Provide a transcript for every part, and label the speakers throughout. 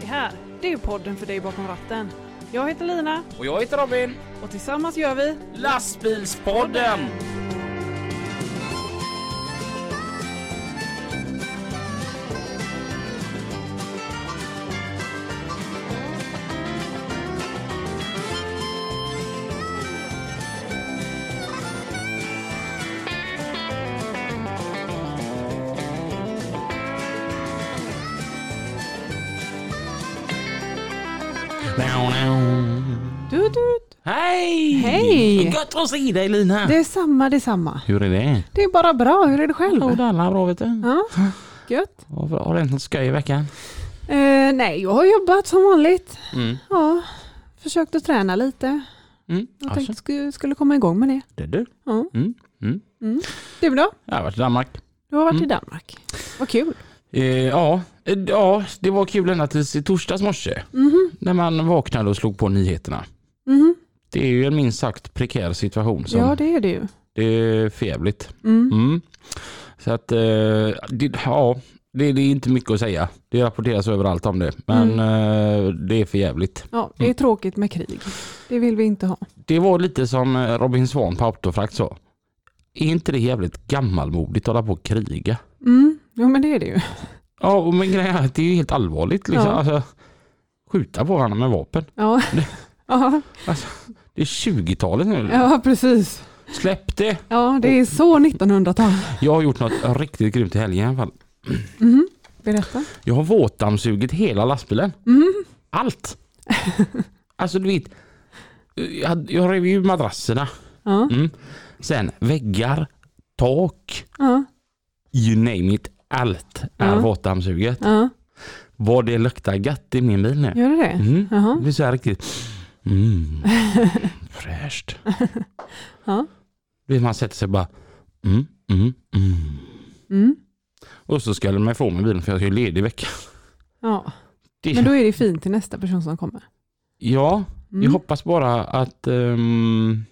Speaker 1: Det här, det är podden för dig bakom ratten. Jag heter Lina
Speaker 2: Och jag heter Robin.
Speaker 1: och tillsammans gör vi
Speaker 2: Lastbilspodden!
Speaker 1: du, du.
Speaker 2: Hej!
Speaker 1: Hej!
Speaker 2: Gött att se dig Lina!
Speaker 1: Det är samma, det är samma.
Speaker 2: Hur är det?
Speaker 1: Det är bara bra, hur är det själv?
Speaker 2: Jo, det är alla bra vet du.
Speaker 1: Ja, gött.
Speaker 2: Har har det hänt något skoj i veckan?
Speaker 1: Eh, nej, jag har jobbat som vanligt.
Speaker 2: Mm.
Speaker 1: Ja, försökt att träna lite.
Speaker 2: Mm.
Speaker 1: Jag
Speaker 2: Alltså,
Speaker 1: tänkte sku- skulle komma igång med det.
Speaker 2: det är du.
Speaker 1: Ja.
Speaker 2: Mm. Mm.
Speaker 1: Du då?
Speaker 2: Jag har varit i Danmark.
Speaker 1: Du har varit
Speaker 2: Mm.
Speaker 1: i Danmark. Vad kul.
Speaker 2: Eh, ja. Eh, ja, det var kul ända tills i torsdags morse.
Speaker 1: Mhm,
Speaker 2: När man vaknade och slog på nyheterna.
Speaker 1: mhm.
Speaker 2: Det är ju en minst sagt prekär situation. Som
Speaker 1: Ja,
Speaker 2: det...
Speaker 1: det är det ju.
Speaker 2: är förjävligt.
Speaker 1: Mm.
Speaker 2: Mm. Så att, eh, det, ja, det, det är inte mycket att säga. Det rapporteras överallt om det, men
Speaker 1: Mm.
Speaker 2: eh, det är för jävligt.
Speaker 1: Ja, det är tråkigt med krig. Det vill vi inte ha.
Speaker 2: Det var lite som eh, Robin Svan på Autofrakt sa. Är inte det jävligt gammalmodigt att hålla på och kriga?
Speaker 1: Mm. Jo, men det är det ju.
Speaker 2: Ja, och men grejen är att det är ju helt allvarligt. Liksom.
Speaker 1: Ja.
Speaker 2: Alltså, skjuta på varandra med vapen.
Speaker 1: Ja, ja,
Speaker 2: Det är 20-talet nu.
Speaker 1: ja precis.
Speaker 2: Släpp det!
Speaker 1: Ja, det är så 1900-tal.
Speaker 2: Jag har gjort något riktigt grymt i helgen i alla fall.
Speaker 1: Mhm. Berätta.
Speaker 2: Jag har våtdammsugit hela lastbilen.
Speaker 1: Mm.
Speaker 2: Allt! Alltså du vet, jag, hade- jag rev ju madrasserna.
Speaker 1: Ja,
Speaker 2: Mm. Sen väggar, tak,
Speaker 1: ja,
Speaker 2: you name it. Allt är
Speaker 1: Ja.
Speaker 2: våtdammsuget.
Speaker 1: ja.
Speaker 2: Vad det luktar gött i min bil nu.
Speaker 1: Gör det det?
Speaker 2: Mm. Det
Speaker 1: Jaha.
Speaker 2: blir så här riktigt mm. fräscht.
Speaker 1: Ja.
Speaker 2: Du vet, Man sätter sig bara mm, mm, mm.
Speaker 1: Mm.
Speaker 2: Och så ska de ifrån mig bilen för jag ska ju ledig i veckan.
Speaker 1: Ja.
Speaker 2: Det,
Speaker 1: Men då är det fint till nästa person som kommer.
Speaker 2: Ja,
Speaker 1: Mm.
Speaker 2: jag hoppas bara att, ehm,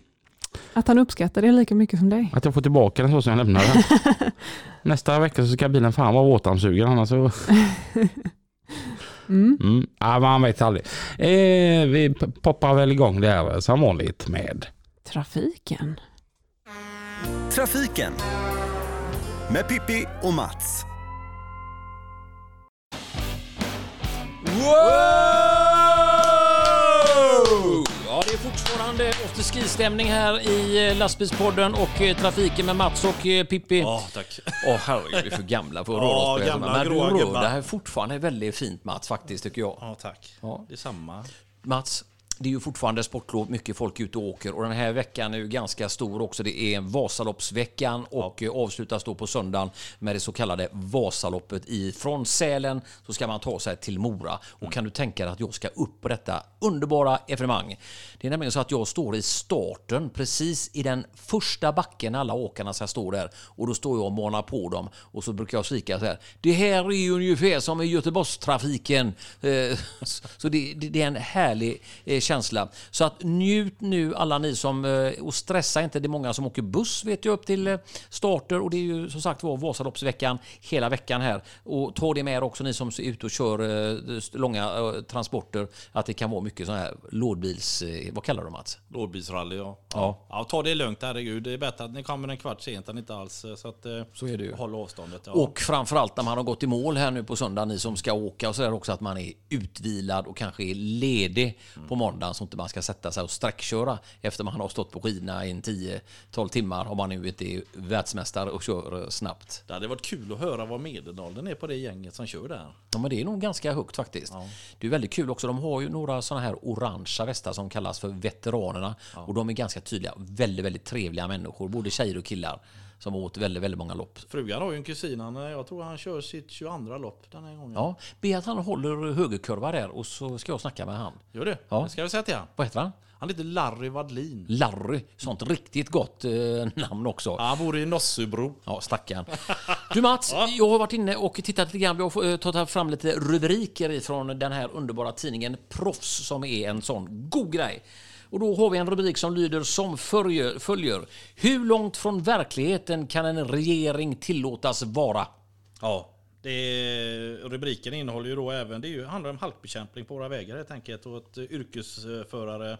Speaker 1: Att han uppskattar det lika mycket som dig.
Speaker 2: att jag får tillbaka den så som jag lämnade den. Nästa vecka så ska bilen fan vara våtdammsugen annars så...
Speaker 1: Mm.
Speaker 2: Mm. Ja, man vet aldrig. Eh, vi p- poppar väl igång där som vanligt med
Speaker 1: Trafiken.
Speaker 3: Trafiken med Pippi och Mats.
Speaker 4: Wow! Ja, det är fortfarande afterski-stämning här i eh, lastbilspodden och eh, trafiken med Mats och eh, Pippi.
Speaker 5: Ja, tack.
Speaker 4: Åh herregud, vi är för gamla för att
Speaker 5: Ja,
Speaker 4: röra oss på
Speaker 5: gamla
Speaker 4: hästarna. Men du
Speaker 5: gråa
Speaker 4: rör
Speaker 5: gubbar.
Speaker 4: det här är fortfarande väldigt fint Mats faktiskt tycker jag.
Speaker 5: Ja, tack.
Speaker 4: Ja.
Speaker 5: Detsamma.
Speaker 4: Mats, det är ju fortfarande sportlov, mycket folk ute och åker och den här veckan är ju ganska stor också. Det är Vasaloppsveckan och eh, avslutas då på söndagen med det så kallade Vasaloppet. Ifrån Sälen så ska man ta sig till Mora
Speaker 5: Mm.
Speaker 4: och kan du tänka dig att jag ska upp på detta underbara evenemang? Det är nämligen så att jag står i starten precis i den första backen alla åkarna ska stå där och då står jag och manar på dem och så brukar jag skrika så här. Det här är ju ungefär som i Göteborgstrafiken. Eh, Så det, det det är en härlig eh, känsla. Så att njut nu alla ni som, eh, och stressa inte, det är många som åker buss vet jag upp till eh, starter och det är ju som sagt var Vasaloppsveckan hela veckan här. Och ta det med er också ni som är ute och kör eh, st- långa eh, transporter att det kan vara mycket sådana här lådbils, eh, vad kallar du det, Mats?
Speaker 5: Lådbilsrally, ja.
Speaker 4: Ja.
Speaker 5: ja. Ta det lugnt, herregud. Det är bättre att ni kommer en kvart sent än inte alls. Så, att, eh,
Speaker 4: Så är det ju.
Speaker 5: Håll avståndet. Ja.
Speaker 4: Och framförallt när man har gått i mål här nu på söndag, ni som ska åka och sådär också, att man är utvilad och kanske är ledig på måndagen så inte man ska sätta sig och sträckköra efter man har stått på skidorna i en 10-12 timmar om man nu inte är världsmästare och kör eh, snabbt.
Speaker 5: Det hade varit kul att höra vad medelåldern är på det gänget som kör där.
Speaker 4: Ja, men det är nog ganska högt faktiskt. Det är väldigt kul också. De har ju några sådana här orangea västar som kallas för veteranerna och de är ganska tydliga. Väldigt, väldigt trevliga människor, både tjejer och killar som har åkt väldigt, väldigt många lopp.
Speaker 5: Frugan har ju en kusin, han, eh, jag tror han kör sitt 22 lopp den här gången.
Speaker 4: Ja, be att han håller högerkurva där och så ska jag snacka med han.
Speaker 5: Gör du?
Speaker 4: Ja.
Speaker 5: Det ska vi säga till han.
Speaker 4: Vad heter han?
Speaker 5: Han heter Larry Wadlin.
Speaker 4: Larry. Sånt riktigt gott eh, namn också.
Speaker 5: Ja, han bor i Nossebro.
Speaker 4: Ja, stackarn. Du Mats, jag har varit inne och tittat lite grann. Vi har eh, tagit fram lite rubriker ifrån den här underbara tidningen Proffs som är en sån god grej. Och då har vi en rubrik som lyder som följer. följer. Hur långt från verkligheten kan en regering tillåtas vara?
Speaker 5: Ja. Det är, rubriken innehåller ju då även, det är ju, handlar om halkbekämpning på våra vägar helt enkelt. Och att eh, yrkesförare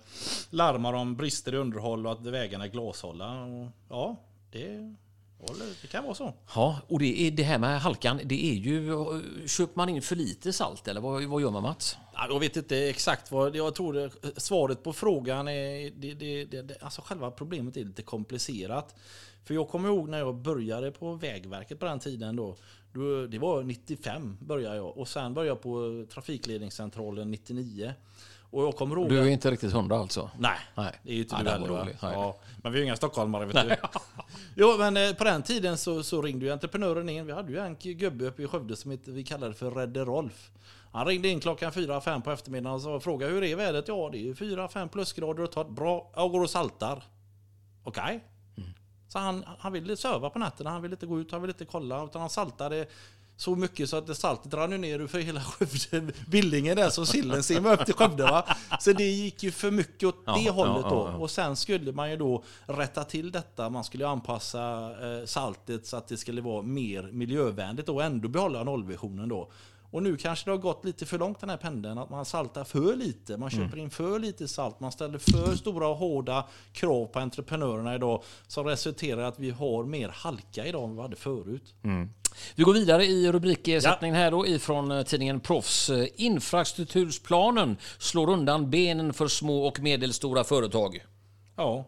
Speaker 5: larmar om brister i underhåll och att vägarna är glashålla. Och, ja, det, håller, det kan vara så.
Speaker 4: Ja, och det, är, det här med halkan, det är ju... eh, Köper man in för lite salt eller vad, vad gör man Mats?
Speaker 5: Ja, Jag vet inte exakt vad, jag tror det, svaret på frågan är, det, det, det, det, alltså själva problemet är lite komplicerat. För jag kommer ihåg när jag började på Vägverket på den tiden då, då det var 95 började jag och sen började jag på Trafikledningscentralen 99. Och jag kommer ihåg...
Speaker 4: Du
Speaker 5: att-
Speaker 4: är inte riktigt hundra alltså?
Speaker 5: Nej,
Speaker 4: Nej.
Speaker 5: det är ju inte
Speaker 4: Nej,
Speaker 5: du
Speaker 4: den
Speaker 5: heller.
Speaker 4: var
Speaker 5: va?
Speaker 4: dålig. Nej.
Speaker 5: Ja, men vi är ju inga stockholmare vet du. jo, men eh, på den tiden så, så ringde ju entreprenören in. Vi hade ju en gubbe uppe i Skövde som hette- vi kallade för Redde Rolf. Han ringde in klockan 4-5 på eftermiddagen och sa, frågade hur är vädret? Ja, det är ju 4-5 plusgrader och tar bra. Jag går och saltar. Okej. Så han, han ville söva på nätterna, han ville inte gå ut, han ville inte kolla. Utan han saltade så mycket så att det saltet rann ju ner för hela Skövde. Billingen där så sillen simmade upp till Skövde. Va? Så det gick ju för mycket åt det
Speaker 4: ja,
Speaker 5: hållet då.
Speaker 4: ja, ja.
Speaker 5: Och sen skulle man ju då rätta till detta. Man skulle ju anpassa eh, saltet så att det skulle vara mer miljövänligt och ändå behålla nollvisionen då. Och nu kanske det har gått lite för långt den här pendeln, att man saltar för lite. Man köper in för lite salt, man ställer för stora och hårda krav på entreprenörerna idag som resulterar i att vi har mer halka idag än vi hade förut.
Speaker 4: Vi går vidare i rubriksättningen här då ifrån eh, tidningen Proffs. Eh, Infrastrukturplanen slår undan benen för små och medelstora företag.
Speaker 5: Ja.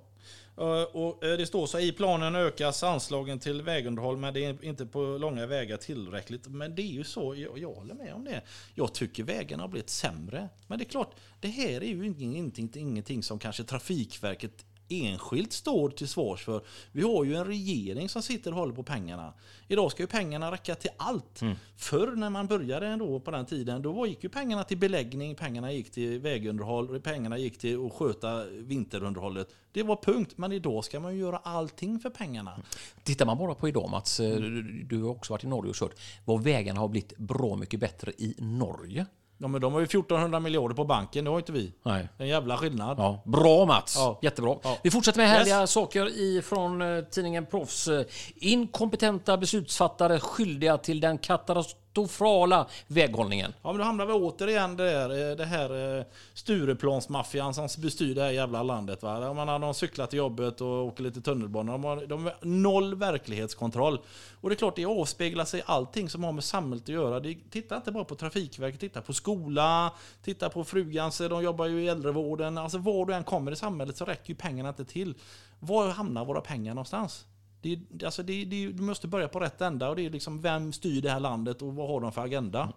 Speaker 5: Eh, Och eh, det står så här, i planen ökas anslagen till vägunderhåll men det är inte på långa vägar tillräckligt. Men det är ju så, jag, jag håller med om det. Jag tycker vägarna har blivit sämre. Men det är klart, det här är ju ingenting, ingenting, ingenting som kanske Trafikverket enskilt står till svars för. Vi har ju en regering som sitter och håller på pengarna. Idag ska ju pengarna räcka till allt. Förr när man började ändå på den tiden, då var- gick ju pengarna till beläggning, pengarna gick till vägunderhåll, pengarna gick till att sköta vinterunderhållet. Det var punkt, men idag ska man ju göra allting för pengarna.
Speaker 4: Tittar man bara på idag Mats, eh,
Speaker 5: Mm.
Speaker 4: du har också varit i Norge och kört, vad vägarna har blivit bra mycket bättre i Norge.
Speaker 5: Ja, men de har ju 1400 miljarder på banken, det har inte vi.
Speaker 4: Nej.
Speaker 5: En jävla skillnad.
Speaker 4: Ja, bra Mats!
Speaker 5: Ja.
Speaker 4: Jättebra.
Speaker 5: Ja.
Speaker 4: Vi fortsätter med härliga
Speaker 5: Yes.
Speaker 4: saker ifrån eh, tidningen Proffs. Eh, Inkompetenta beslutsfattare skyldiga till den katastrofala väghållningen.
Speaker 5: Ja, men då hamnar vi återigen där, eh, det här eh, Stureplansmaffian som bestyr det här jävla landet. Va? Jag menar, de cyklar till jobbet och åker lite tunnelbana. De har, de har noll verklighetskontroll. Och det är klart, det avspeglar sig i allting som har med samhället att göra. Det, titta inte bara på Trafikverket, titta på skola, titta på frugans, de jobbar ju i äldrevården. Alltså var du än kommer i samhället så räcker ju pengarna inte till. Var hamnar våra pengar någonstans? Det, är- alltså det, det, du måste börja på rätt ända och det är liksom vem styr det här landet och vad har de för agenda?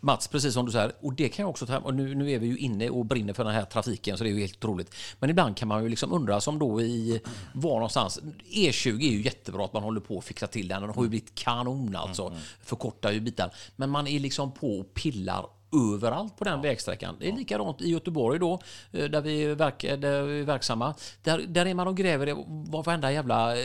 Speaker 4: Mats, precis som du säger, och det kan jag också ta hem. Och nu, nu är vi ju inne och brinner för den här trafiken, så det är ju helt roligt. Men ibland kan man ju liksom undra, som då i var någonstans. E20 är ju jättebra att man håller på att fixa till den. Den har ju blivit kanon alltså. Förkortar ju bitar. Men man är liksom på och pillar överallt på den vägsträckan. Det är likadant i Göteborg då, eh, där vi, är verk, där vi är verksamma. Där, där är man och gräver i var- varenda jävla eh,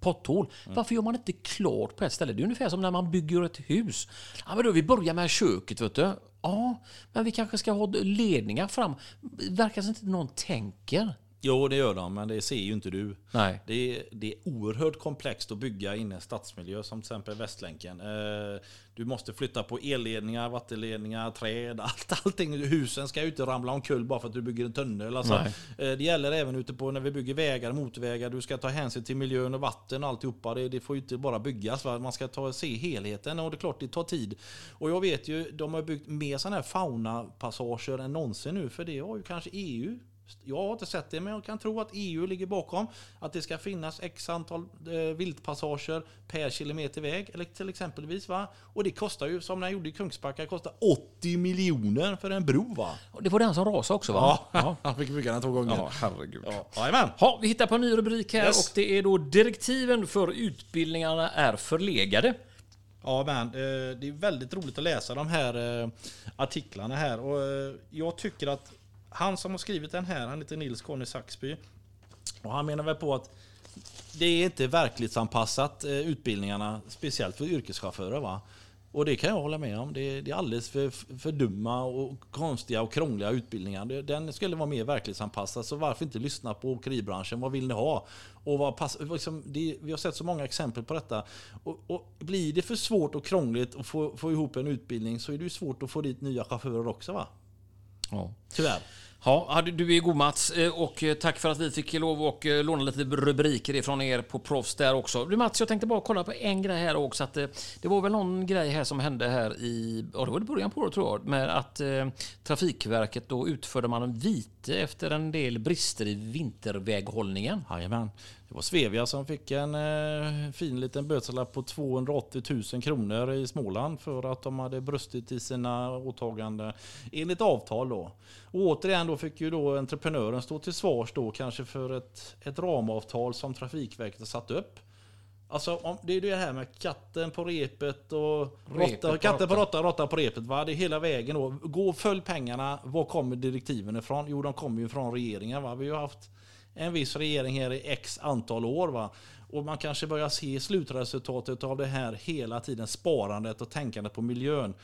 Speaker 4: potthål.
Speaker 5: Mm.
Speaker 4: Varför gör man inte klart på ett ställe? Det är ungefär som när man bygger ett hus. Ja, men då, vi börjar med köket, vet du. Ja, men vi kanske ska ha ledningar fram. Det verkar som inte någon tänker.
Speaker 5: Jo, det gör de, men det ser ju inte du.
Speaker 4: Nej.
Speaker 5: Det är, det är oerhört komplext att bygga in i en stadsmiljö som till exempel Västlänken. Eh, Du måste flytta på elledningar, vattenledningar, träd, allt, allting. Husen ska ju inte ramla omkull bara för att du bygger en tunnel. Alltså, eh, det gäller även ute på när vi bygger vägar, motvägar. Du ska ta hänsyn till miljön och vatten och alltihopa. Det, det får ju inte bara byggas. Va? Man ska ta, se helheten och det är klart det tar tid. Och jag vet ju, de har byggt mer sådana här faunapassager än någonsin nu för det har ju kanske E EU jag har inte sett det, men jag kan tro att EU ligger bakom att det ska finnas x antal eh, viltpassager per kilometer väg, eller till exempelvis. Va? Och det kostar ju, som när jag gjorde i Kungsbacka, kostar 80 miljoner för en bro. Va?
Speaker 4: Och Det var den som rasade också va?
Speaker 5: han fick bygga den två gånger. Ja, herregud. Ja, jajamän.
Speaker 4: Ja, vi hittar på en ny rubrik här
Speaker 5: Yes.
Speaker 4: och det är då direktiven för utbildningarna är förlegade.
Speaker 5: Ja, men eh, det är väldigt roligt att läsa de här eh, artiklarna här. Och eh, jag tycker att han som har skrivit den här, han heter Nils Conny Saxby. Och han menar väl på att det är inte verklighetsanpassat eh, utbildningarna, speciellt för yrkeschaufförer. Va? Och Och det kan jag hålla med om. Det, det är alldeles för, för dumma och konstiga och krångliga utbildningar. Det- Den skulle vara mer verklighetsanpassad. Så varför inte lyssna på åkeribranschen? Vad vill ni ha? Och vad pass, liksom det, vi har sett så många exempel på detta. Och, och blir det för svårt och krångligt att få, få ihop en utbildning så är det ju svårt att få dit nya chaufförer också va?
Speaker 4: Ja.
Speaker 5: Tyvärr.
Speaker 4: Ja, ja, du- du är god Mats Eh, och eh, tack för att vi fick lov och eh, låna lite rubriker ifrån er på proffs där också. Du Mats, jag tänkte bara kolla på en grej här också. Att, eh, det var väl någon grej här som hände här i, ja det var i början på året tror jag, med att eh, Trafikverket då utförde man en vite efter en del brister i vinterväghållningen.
Speaker 5: Jajamän. Det var Svevia som fick en eh, fin liten böteslapp på 280 000 kronor i Småland för att de hade brustit i sina åtaganden enligt avtal. Då. Och återigen då fick ju då entreprenören stå till svars då kanske för ett, ett ramavtal som Trafikverket har satt upp. Alltså om, det är det här med katten på repet och
Speaker 4: Repet
Speaker 5: råtta,
Speaker 4: på
Speaker 5: katten på
Speaker 4: råttan.
Speaker 5: råttan, råttan på repet. Va? Det är hela vägen då. Gå och följ pengarna. Var kommer direktiven ifrån? Jo, de kommer ju från regeringen. Va? Vi har haft en viss regering här i x antal år. Va? Och man kanske börjar se slutresultatet av det här hela tiden. Sparandet och tänkandet på miljön.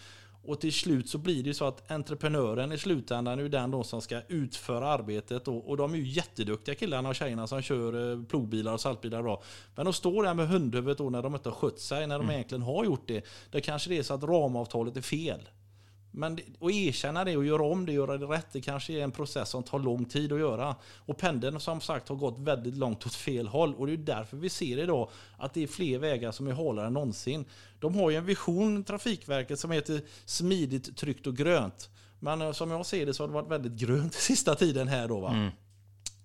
Speaker 5: Och till slut så blir det ju så att entreprenören i slutändan är ju den då som ska utföra arbetet. Och, och de är ju jätteduktiga killarna och tjejerna som kör eh, plogbilar och saltbilar. Då. Men de står där med hundhuvudet då när de inte har skött sig, när de egentligen har gjort det. Det kanske det är så att ramavtalet är fel. Men det- att erkänna det och göra om det, göra det rätt, det kanske är en process som tar lång tid att göra. Och pendeln som sagt har gått väldigt långt åt fel håll. Och det är därför vi ser idag att det är fler vägar som är halare än någonsin. De har ju en vision, Trafikverket, som heter smidigt, tryggt och grönt. Men eh, som jag ser det så har det varit väldigt grönt sista tiden här då. Va?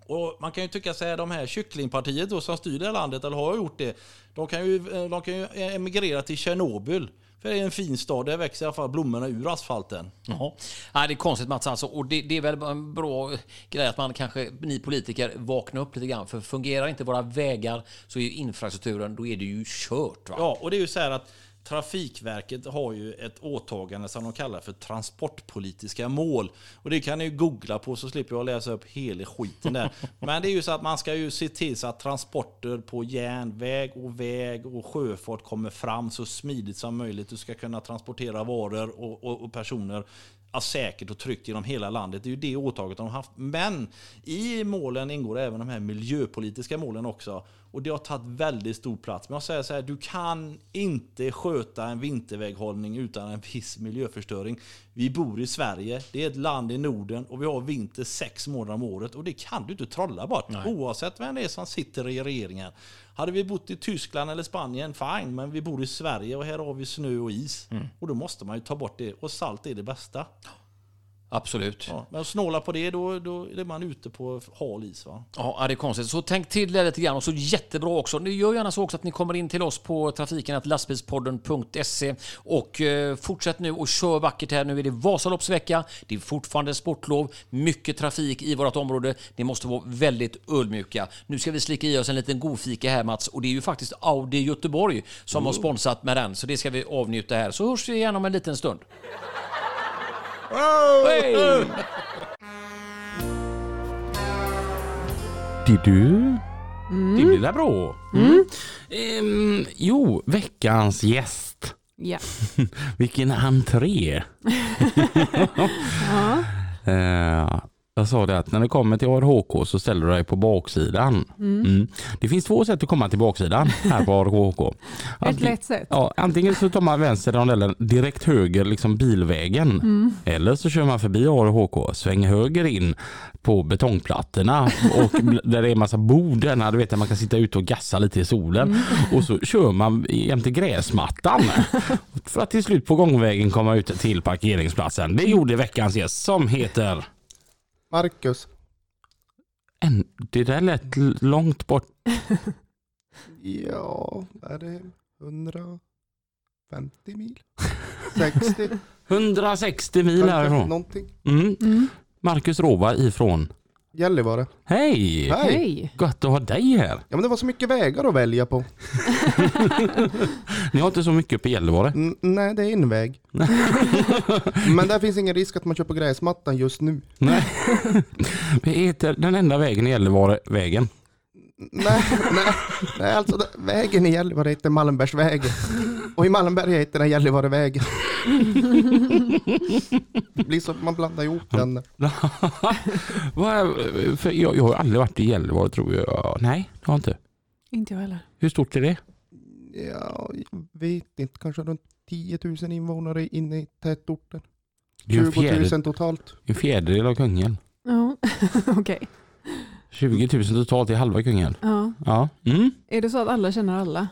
Speaker 5: Och man kan ju tycka så här, de här kycklingpartiet då som styr det här landet, eller har gjort det, de kan ju, eh, de kan ju emigrera till Tjernobyl. För det är en fin stad, där växer i alla fall blommorna ur asfalten.
Speaker 4: Jaha. Nej, det är konstigt Mats alltså. Och det, det är väl en bra grej att man kanske, ni politiker, vaknar upp lite grann. För fungerar inte våra vägar så är ju infrastrukturen, då är det ju kört. Va?
Speaker 5: Ja, och det är ju så här att Trafikverket har ju ett åtagande som de kallar för transportpolitiska mål. Och det kan ni ju googla på så slipper jag läsa upp hela skiten där. Men det är ju så att man ska ju se till så att transporter på järnväg och väg och sjöfart kommer fram så smidigt som möjligt. Du ska kunna transportera varor och, och, och personer ja, säkert och tryggt genom hela landet. Det är ju det åtaget de har haft. Men i målen ingår även de här miljöpolitiska målen också. Och det har tagit väldigt stor plats. Men jag säger så här, du kan inte sköta en vinterväghållning utan en viss miljöförstöring. Vi bor i Sverige, det är ett land i Norden och vi har vinter sex månader om året. Och det kan du inte trolla bort, oavsett vem det är som sitter i regeringen. Hade vi bott i Tyskland eller Spanien, fine. Men vi bor i Sverige och här har vi snö och is. Och då måste man ju ta bort det. Och salt är det bästa.
Speaker 4: Absolut.
Speaker 5: Ja, men snåla på det, då, då är man ute på hal is. Va?
Speaker 4: Ja, det är konstigt. Så tänk till det lite grann och så jättebra också. Ni gör gärna så också att ni kommer in till oss på trafiken.lastbilspodden.se och eh, fortsätt nu och kör vackert här. Nu är det Vasaloppsvecka. Det är fortfarande sportlov, mycket trafik i vårt område. Ni måste vara väldigt ödmjuka. Nu ska vi slicka i oss en liten godfika här Mats och det är ju faktiskt Audi Göteborg som har sponsrat med den. Så det ska vi avnjuta här. Så hörs vi igen om en liten stund. Hej!
Speaker 2: Diddu? Det blir där bra. Mm. Ehm, jo, veckans gäst.
Speaker 1: Ja.
Speaker 2: Vilken entré. Eh, jag sa det att när du kommer till ARHK så ställer du dig på baksidan. Mm. Det finns två sätt att komma till baksidan här på ARHK.
Speaker 1: Ett
Speaker 2: Antingen-
Speaker 1: lätt sätt.
Speaker 2: Ja, antingen så tar man vänster rondellen direkt höger, liksom bilvägen.
Speaker 1: Mm.
Speaker 2: Eller så kör man förbi ARHK, svänger höger in på betongplattorna och bl- där det är massa bord där, när du vet, där man kan sitta ute och gassa lite i solen.
Speaker 1: Mm.
Speaker 2: Och så kör man jämte gräsmattan för att till slut på gångvägen komma ut till parkeringsplatsen. Det gjorde veckans gäst som heter...
Speaker 6: Marcus.
Speaker 2: En, det där lät l- långt bort.
Speaker 6: Ja, är det 150 mil? 60?
Speaker 2: 160 mil härifrån.
Speaker 6: Någonting.
Speaker 2: Mm.
Speaker 1: Mm.
Speaker 2: Marcus Rova ifrån.
Speaker 6: Gällivare.
Speaker 2: Hej!
Speaker 6: Hej!
Speaker 1: Hej!
Speaker 2: Gott att ha dig här.
Speaker 6: Ja men det var så mycket vägar att välja på.
Speaker 2: Ni har inte så mycket uppe i Gällivare.
Speaker 6: N- nej, det är en väg. men där finns ingen risk att man kör på gräsmattan just nu.
Speaker 2: Nej. Vi heter den enda vägen i Gällivare, vägen.
Speaker 6: Nej, nej, nej alltså det- vägen i Gällivare heter Malmbergsvägen. Och i Malmberg heter den Gällivarevägen. Det blir så att man blandar ihop den.
Speaker 2: Vad är, för jag, jag har aldrig varit i Gällivare tror jag. Nej, det har jag inte.
Speaker 1: Inte jag heller.
Speaker 2: Hur stort är det?
Speaker 6: Ja, jag vet inte, kanske runt 10 000 invånare inne i tätorten.
Speaker 2: Det är ju en
Speaker 6: 20
Speaker 2: fjärdedel-
Speaker 6: 000 totalt.
Speaker 2: en fjärdedel av Kungälv.
Speaker 1: Ja, okej.
Speaker 2: 20 000 totalt i halva Kungälv.
Speaker 1: Ja.
Speaker 2: Ja. Mm.
Speaker 1: Är det så att alla känner alla?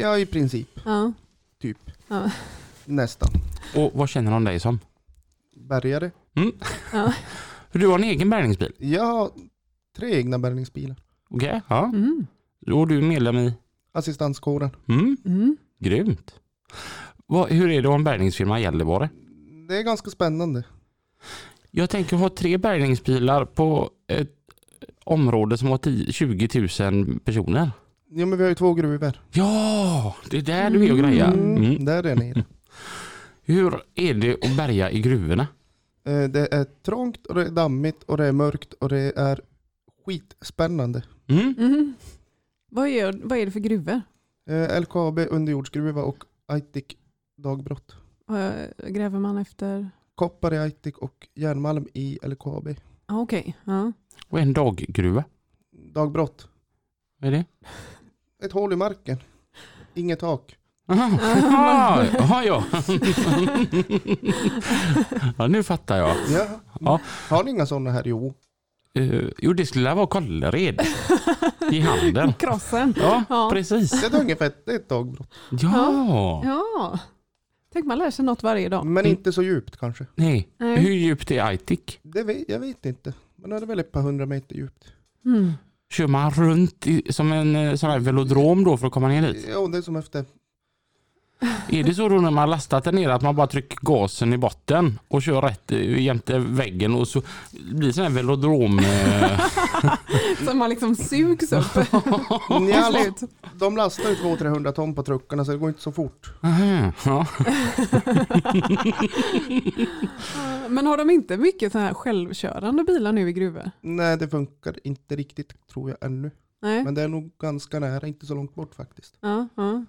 Speaker 6: Ja, i princip.
Speaker 1: Ja.
Speaker 6: Typ.
Speaker 1: Ja.
Speaker 6: Nästan.
Speaker 2: Och vad känner de dig som?
Speaker 6: Bärgare.
Speaker 2: För du har en egen bärgningsbil.
Speaker 6: Jag har tre egna bärgningsbilar.
Speaker 2: Okej. Ja.
Speaker 1: Mm.
Speaker 2: Och du är medlem i?
Speaker 6: Assistanskåren.
Speaker 2: Mm.
Speaker 1: Mm.
Speaker 2: Grymt. Vad, hur är det att ha en bärgningsfirma i Gällivare?
Speaker 6: Det är ganska spännande.
Speaker 2: Jag tänker ha tre bärgningsbilar på ett område som har 10, 20 000 personer.
Speaker 6: Jo, men vi har ju två gruvor.
Speaker 2: Ja, det är där du är och grejar. Mm.
Speaker 6: Där är nere.
Speaker 2: Hur är det att bärga i gruvorna?
Speaker 6: Eh, Det är trångt och det är dammigt och det är mörkt och det är skitspännande.
Speaker 2: Mm.
Speaker 1: Mm. Vad, är, vad är det för gruvor?
Speaker 6: Eh, LKAB underjordsgruva och Aitik dagbrott.
Speaker 1: Eh, Gräver man efter?
Speaker 6: Koppar i Aitik och järnmalm i LKAB.
Speaker 1: Ah, okej. Ja.
Speaker 2: Och en daggruva.
Speaker 6: Dagbrott.
Speaker 2: Vad är det?
Speaker 6: Ett hål i marken. Inget tak.
Speaker 2: Jaha, Jaha, jaha, ja. ja. Nu fattar jag.
Speaker 6: Ja.
Speaker 2: Ja.
Speaker 6: Har ni inga sådana här? Jo.
Speaker 2: Eh, jo, det skulle vara Kållered i handen.
Speaker 1: Krossen.
Speaker 2: Ja,
Speaker 1: Ja.
Speaker 2: precis.
Speaker 6: Det är ungefär det är ett dagbrott.
Speaker 2: Ja.
Speaker 1: Ja. Tänk man lär sig något varje dag.
Speaker 6: Men inte så djupt kanske.
Speaker 2: Nej.
Speaker 1: Nej.
Speaker 2: Hur djupt är Aitik?
Speaker 6: Det vet, jag vet inte. Men det är väl ett par hundra meter djupt.
Speaker 1: Mm.
Speaker 2: Kör man runt i, som en eh, sån här velodrom då för att komma ner dit?
Speaker 6: Ja, det är som efter.
Speaker 2: Är det så då när man lastat där nere att man bara trycker gasen i botten och kör rätt eh, jämte väggen och så blir det sån här velodrom... eh,
Speaker 1: Så man liksom sugs upp.
Speaker 6: Nja,
Speaker 1: Absolut.
Speaker 6: de lastar ju 200-300 ton på truckarna så det går inte så fort.
Speaker 2: aha, ja.
Speaker 1: Men har de inte mycket så här självkörande bilar nu i gruvor?
Speaker 6: Nej, det funkar inte riktigt tror jag ännu.
Speaker 1: Nej.
Speaker 6: Men det är nog ganska nära, inte så långt bort faktiskt.
Speaker 1: Ja, ja.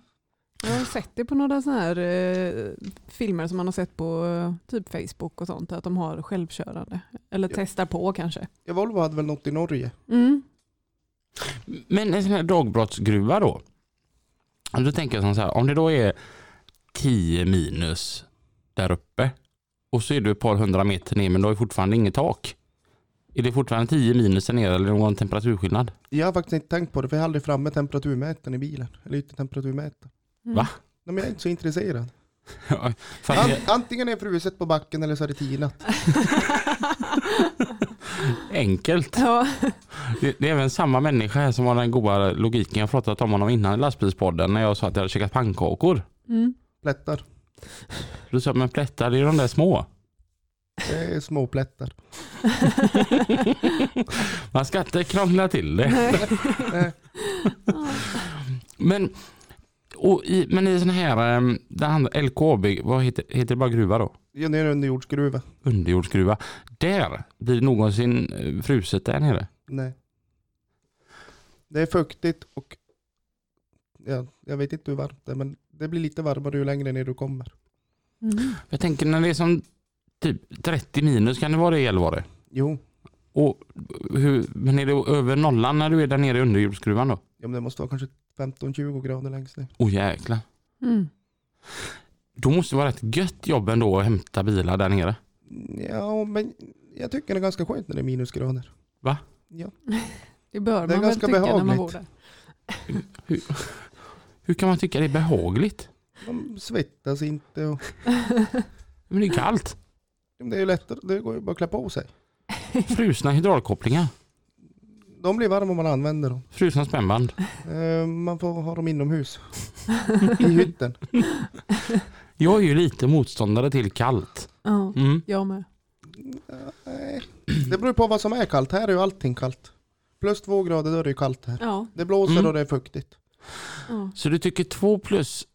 Speaker 1: Jag har sett det på några så här eh, filmer som man har sett på eh, typ Facebook och sånt. Att de har självkörande. Eller
Speaker 6: Ja.
Speaker 1: testar på kanske.
Speaker 6: Ja, Volvo hade väl något i Norge.
Speaker 1: Mm.
Speaker 2: Men en sån här dagbrottsgruva då? Och Då tänker jag som så här, om det då är 10 minus där uppe och så är du ett par hundra meter ner men du har ju fortfarande inget tak. Är det fortfarande 10 minus där nere eller är det någon temperaturskillnad?
Speaker 6: Jag har faktiskt inte tänkt på det för jag har aldrig framme temperaturmätaren i bilen. Eller yttertemperaturmätaren.
Speaker 1: Mm.
Speaker 2: Va?
Speaker 6: Nej, men jag är inte så intresserad.
Speaker 2: För att
Speaker 6: An- antingen är det fruset på backen eller så är det tinat.
Speaker 2: det är enkelt.
Speaker 1: Ja.
Speaker 2: Det, det är även samma människa här som har den goda logiken jag pratat om honom innan i lastbilspodden när jag sa att jag hade käkat pannkakor.
Speaker 1: Mm.
Speaker 6: Plättar.
Speaker 2: Då sa jag, men plättar det är ju de där små.
Speaker 6: Det är små plättar.
Speaker 2: Man ska inte krångla till det.
Speaker 6: Nej.
Speaker 2: Men, och i, men i sån här, ehm, det andra, LKAB, vad heter, heter det bara gruva då?
Speaker 6: Ja, det är en underjordsgruva.
Speaker 2: Underjordsgruva. Där blir det någonsin eh, fruset där nere.
Speaker 6: Nej. Det är fuktigt och ja, jag vet inte hur varmt det är men det blir lite varmare ju längre ner du kommer.
Speaker 1: Mm.
Speaker 2: Jag tänker när det är som typ 30 minus, kan det vara det i Gällivare?
Speaker 6: Jo,
Speaker 2: Och hur, men är det över nollan när du är där nere i underjordsgruvan då?
Speaker 6: ja, men det måste vara kanske 15-20 grader längst ner.
Speaker 2: Åh jäklar.
Speaker 1: Mm.
Speaker 2: Då måste det vara rätt gött jobb ändå att hämta bilar där nere.
Speaker 6: Ja, men jag tycker det är ganska skönt när det är minusgrader.
Speaker 1: Det bör
Speaker 6: Det är
Speaker 1: man väl
Speaker 6: ganska
Speaker 1: tycka när man
Speaker 6: behagligt.
Speaker 1: bor där.
Speaker 2: Hur kan man tycka det är behagligt?
Speaker 6: De svettas inte och
Speaker 2: Men det är kallt.
Speaker 6: Ja, men det är ju lättare, det går ju bara att klä på sig.
Speaker 2: Frusna hydraulkopplingar.
Speaker 6: De blir varma om man använder dem.
Speaker 2: Frusna spännband.
Speaker 6: Eh, Man får ha dem inomhus. I hytten.
Speaker 2: Jag är ju lite motståndare till kallt.
Speaker 1: Ja,
Speaker 2: Mm.
Speaker 1: jag med.
Speaker 6: Nej. Det beror på vad som är kallt. Här är ju allting kallt. Plus två grader, då är det ju kallt här.
Speaker 1: Ja,
Speaker 6: Det blåser
Speaker 2: Mm.
Speaker 6: och det är fuktigt.
Speaker 1: ja.
Speaker 2: Så du tycker 2 plus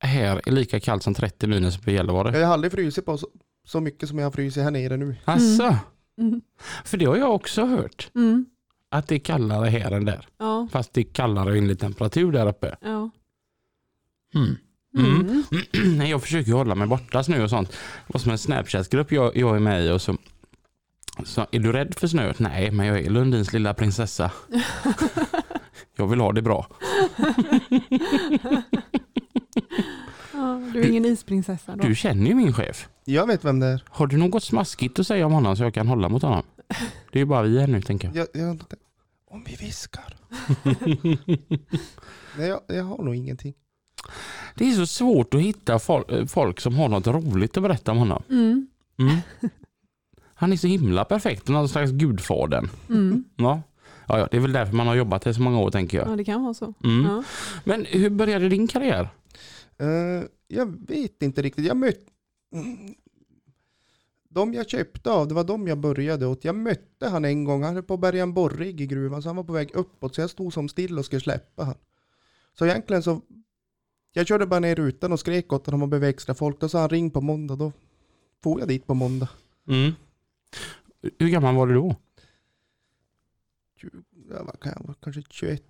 Speaker 2: här är lika kallt som 30 minus på Gällivare?
Speaker 6: Jag har aldrig frusit på så, så mycket som jag har frusit här nere nu.
Speaker 2: Alltså,
Speaker 1: Mm.
Speaker 2: för det har jag också hört.
Speaker 1: Mm.
Speaker 2: att det är kallare här än där.
Speaker 1: Ja.
Speaker 2: Fast det är kallare och enligt temperatur där uppe.
Speaker 1: ja.
Speaker 2: Mm.
Speaker 1: Mm.
Speaker 2: Nej, jag försöker ju hålla mig borta snö och sånt. Det var som en Snapchat-grupp jag, jag är med i och så, så är du rädd för snö? Nej, men jag är Lundins lilla prinsessa. jag vill ha det bra.
Speaker 1: ja. Du är ingen isprinsessa då?
Speaker 2: Du känner ju min chef.
Speaker 6: Jag vet vem det är.
Speaker 2: Har du något smaskigt att säga om honom så jag kan hålla mot honom? Det är ju bara vi här nu tänker jag.
Speaker 6: Jag, jag, har inte tänkt- om vi viskar. Nej, jag, jag har nog ingenting.
Speaker 2: Det är så svårt att hitta fol- eh, folk som har något roligt att berätta om honom.
Speaker 1: Mm.
Speaker 2: Mm. Han är så himla perfekt, någon slags gudfadern.
Speaker 1: Mm.
Speaker 2: Ja. Ja, ja, det är väl därför man har jobbat här så många år tänker jag.
Speaker 1: Ja, det kan vara så.
Speaker 2: Mm.
Speaker 1: Ja.
Speaker 2: Men hur började din karriär?
Speaker 6: Eh, jag vet inte riktigt. Jag mötte... Mm. De jag köpte av, det var de jag började åt. Jag mötte han en gång. Han höll på att bärga en borrig i gruvan, så han var på väg uppåt. Så jag stod som still och skulle släppa han. Så egentligen så... Jag körde bara ner rutan och skrek åt honom om han behövde extra folk. Då sa han ring på måndag. Då får jag dit på måndag.
Speaker 2: Hur gammal var du då?
Speaker 6: Tjugo- Ja, vad kan jag vara? Kanske 21.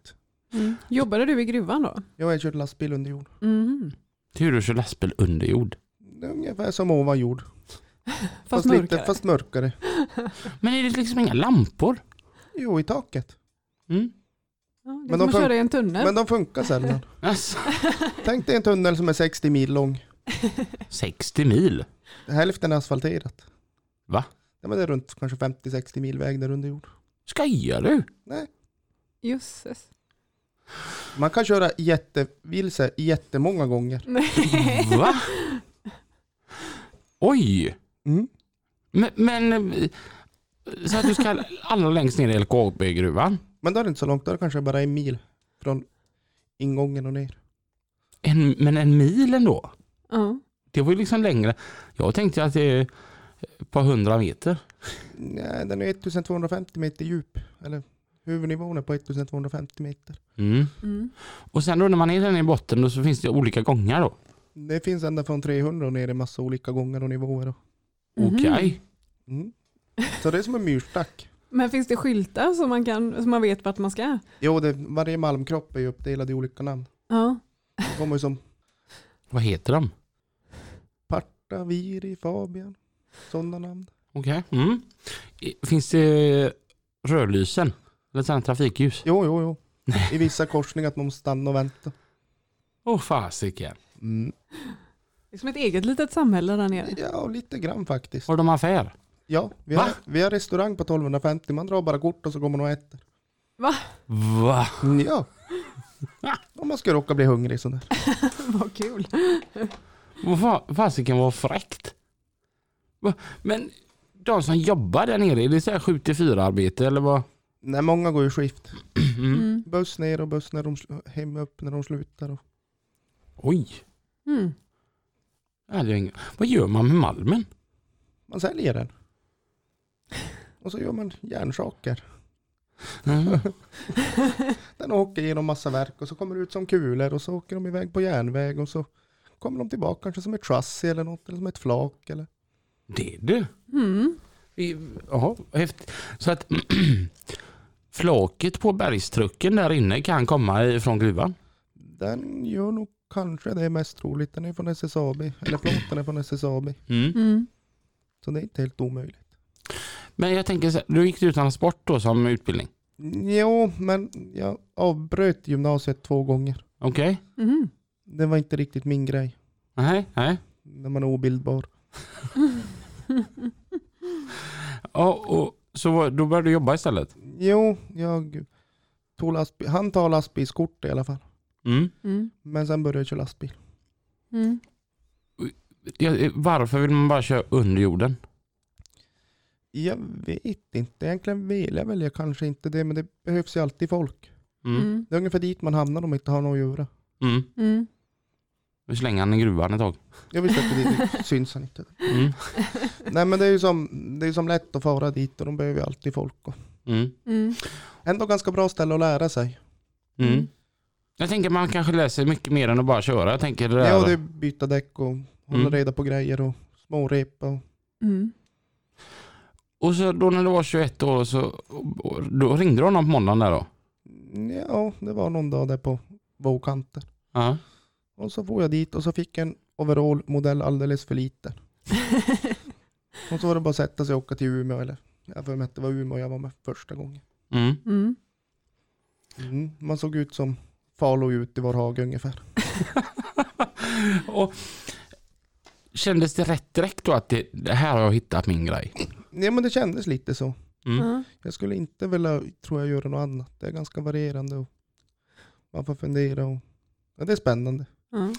Speaker 1: Mm. Jobbade du i gruvan då?
Speaker 6: Jag har kört lastbil under jord.
Speaker 1: Mm.
Speaker 2: Det är hur du kör lastbil under jord.
Speaker 6: Det är Ungefär som ovan jord.
Speaker 1: Fast,
Speaker 6: Fast,
Speaker 1: mörkare?
Speaker 6: lite, fast mörkare.
Speaker 2: Men är det liksom inga lampor?
Speaker 6: Jo, i taket.
Speaker 2: Mm.
Speaker 1: Ja, det är
Speaker 6: de
Speaker 1: som att
Speaker 6: fun-
Speaker 1: köra i en tunnel.
Speaker 6: Men de funkar sällan.
Speaker 2: Alltså,
Speaker 6: Tänk dig en tunnel som är 60 mil lång.
Speaker 2: 60 mil?
Speaker 6: Hälften är asfalterat.
Speaker 2: Va?
Speaker 6: Ja, men det är runt kanske 50-60 mil väg där under jord.
Speaker 2: Skojar du?
Speaker 1: Jösses.
Speaker 6: Man kan köra jättevilse jättemånga gånger.
Speaker 1: Nej.
Speaker 2: Va? Oj!
Speaker 6: Mm.
Speaker 2: Men, men eh, så att du ska alla längst ner i LKAB-gruvan?
Speaker 6: Men då är det inte så långt, då är det kanske bara en mil från ingången och ner.
Speaker 2: En, men en mil ändå?
Speaker 1: Ja.
Speaker 2: Det var ju liksom längre. Jag tänkte att det är ett par hundra meter.
Speaker 6: Nej, den är 1250 meter djup. Eller huvudnivån är på 1250 meter.
Speaker 2: Mm.
Speaker 1: Mm.
Speaker 2: Och sen då när man är där nere i botten då så finns det olika gångar då?
Speaker 6: Det finns ända från 300 och ner i massa olika gånger och nivåer. och-
Speaker 1: Mhm.
Speaker 2: Okej.
Speaker 6: Mm. Så det är som en myrstack.
Speaker 1: Men finns det skyltar så man, kan, så man vet vart man ska?
Speaker 6: Jo, det, varje malmkropp är ju uppdelad i olika namn.
Speaker 1: Ja.
Speaker 6: Det kommer ju som
Speaker 2: Vad heter de?
Speaker 6: Parta, Viri, Fabian. Sådana namn.
Speaker 2: Okej. Mm. Finns det rödlysen? Eller sådana trafikljus?
Speaker 6: Jo, jo, jo. I vissa korsningar att man måste stanna och vänta.
Speaker 2: Åh fasiken.
Speaker 6: Mm.
Speaker 1: Det är som ett eget litet samhälle där nere.
Speaker 6: Ja, lite grann faktiskt.
Speaker 2: Har de affär?
Speaker 6: Ja, vi
Speaker 2: Va?
Speaker 6: har, vi har restaurang på 1250. Man drar bara kort och så går man och äter. Mm,
Speaker 2: Va?
Speaker 6: Ja. Om man ska råka bli hungrig sådär.
Speaker 1: Vad kul.
Speaker 2: Vad fa- fasiken vad fräckt. Va? Men de som jobbar där nere, är det så här 7 till 4 arbete eller vad?
Speaker 6: Nej, många går ju skift.
Speaker 2: Mm.
Speaker 1: Mm.
Speaker 6: Buss ner och buss när de sl- hem upp när de slutar. Och.
Speaker 2: Oj.
Speaker 1: Mm.
Speaker 2: Ja, det är ingen- Vad gör man med malmen?
Speaker 6: Man säljer den. Och så gör man järnsaker.
Speaker 2: Mm.
Speaker 6: Den åker genom massa verk och så kommer det ut som kulor och så åker de iväg på järnväg och så kommer de tillbaka kanske som ett chassi eller något eller som ett flak eller
Speaker 2: Det är du.
Speaker 1: Mm.
Speaker 2: I- Jaha, häftigt. Så att flaket på bergstrucken där inne kan komma ifrån gruvan?
Speaker 6: Den gör nog kanske det mest troligt. Den är från SSAB. Eller plåten är från SSAB.
Speaker 1: Mm.
Speaker 6: Så det är inte helt omöjligt.
Speaker 2: Men jag tänker så här, du gick utan sport då som utbildning?
Speaker 6: Jo, men jag avbröt gymnasiet två gånger.
Speaker 2: Okej?
Speaker 1: Mm.
Speaker 6: Det var inte riktigt min grej.
Speaker 2: Nej, nej.
Speaker 6: När man är obildbar.
Speaker 2: Ja, och, så var- då började du jobba istället?
Speaker 6: Jo, jag tog lastbil. Han tar lastbilskort i alla fall.
Speaker 2: Mm.
Speaker 1: Mm.
Speaker 6: Men sen började jag köra lastbil.
Speaker 1: Mm.
Speaker 2: Ja, eh, Varför vill man bara köra under jorden?
Speaker 6: Jag vet inte. Egentligen vill jag väl jag kanske inte det. Men det behövs ju alltid folk.
Speaker 2: Mm.
Speaker 1: Mm.
Speaker 6: Det är ungefär dit man hamnar om man inte har något att göra.
Speaker 2: Mm.
Speaker 1: Mm.
Speaker 2: Vi slänger han i gruvan ett tag.
Speaker 6: Jag visste att det dit syns han inte.
Speaker 2: Mm.
Speaker 6: Nej men det är ju som, det är ju som lätt att fara dit och de behöver ju alltid folk. Och
Speaker 2: Mm.
Speaker 1: Mm.
Speaker 6: ändå ganska bra ställe att lära sig.
Speaker 2: Mm. Jag tänker man kanske läser mycket mer än att bara köra. Jag tänker det där.
Speaker 6: Ja, det är byta däck och hålla
Speaker 2: Mm.
Speaker 6: reda på grejer och smårepa. Och,
Speaker 1: Mm.
Speaker 2: Och så då när du var 21 år så och- och då ringde du honom på måndagen där då?
Speaker 6: Ja, det var någon dag där på vågkanten.
Speaker 2: Ja.
Speaker 6: Och så får jag dit och så fick jag en overall modell alldeles för liten. Och så var det bara att sätta sig och åka till Umeå eller jag har för mig att det var Umeå jag var med första gången.
Speaker 2: Mm.
Speaker 1: Mm.
Speaker 6: Mm, man såg ut som Falo ut i vår hage ungefär.
Speaker 2: Och kändes det rätt direkt då att det, det här har jag hittat min grej?
Speaker 6: Nej men det kändes lite så.
Speaker 2: Mm.
Speaker 1: Ja.
Speaker 6: Jag skulle inte vilja, tror jag, göra något annat. Det är ganska varierande och man får fundera och ja, det är spännande.
Speaker 1: Ja.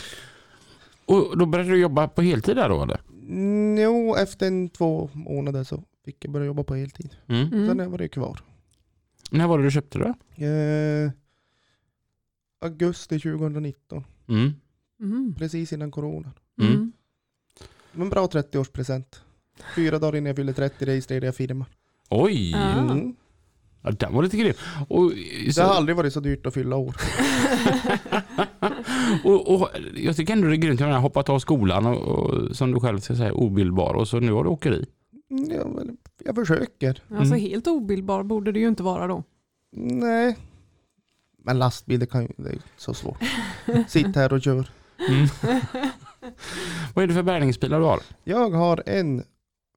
Speaker 2: Och då började du jobba på heltid där då eller?
Speaker 6: Mm, jo, efter en, två månader så fick jag börja jobba på heltid.
Speaker 2: Mm.
Speaker 6: Sen
Speaker 1: Mm.
Speaker 6: har jag varit kvar.
Speaker 2: När var det du köpte det?
Speaker 6: Eh, augusti 2019,
Speaker 2: Mm.
Speaker 1: Mm.
Speaker 6: precis innan corona.
Speaker 2: Mm.
Speaker 1: Mm.
Speaker 6: Men bra 30-årspresent. Fyra dagar innan jag fyllde 30 registrerade jag firma.
Speaker 2: Oj,
Speaker 1: Ja. Ah.
Speaker 6: Mm.
Speaker 2: ja, den var lite grym. Och,
Speaker 6: Det har aldrig varit så dyrt att fylla år.
Speaker 2: och, och, jag tycker ändå det är grymt att du har hoppat av skolan och, och som du själv ska säga obildbar och så nu har du åkeri.
Speaker 6: Mm, Jag, väl- jag försöker.
Speaker 1: Alltså
Speaker 2: Mm.
Speaker 1: helt obildbar borde det ju inte vara då.
Speaker 6: Nej. Men lastbil, det, kan, ju- det är så svårt. Sitt här och kör.
Speaker 2: Mm. Vad är det för bärgningsbilar du har?
Speaker 6: Jag har en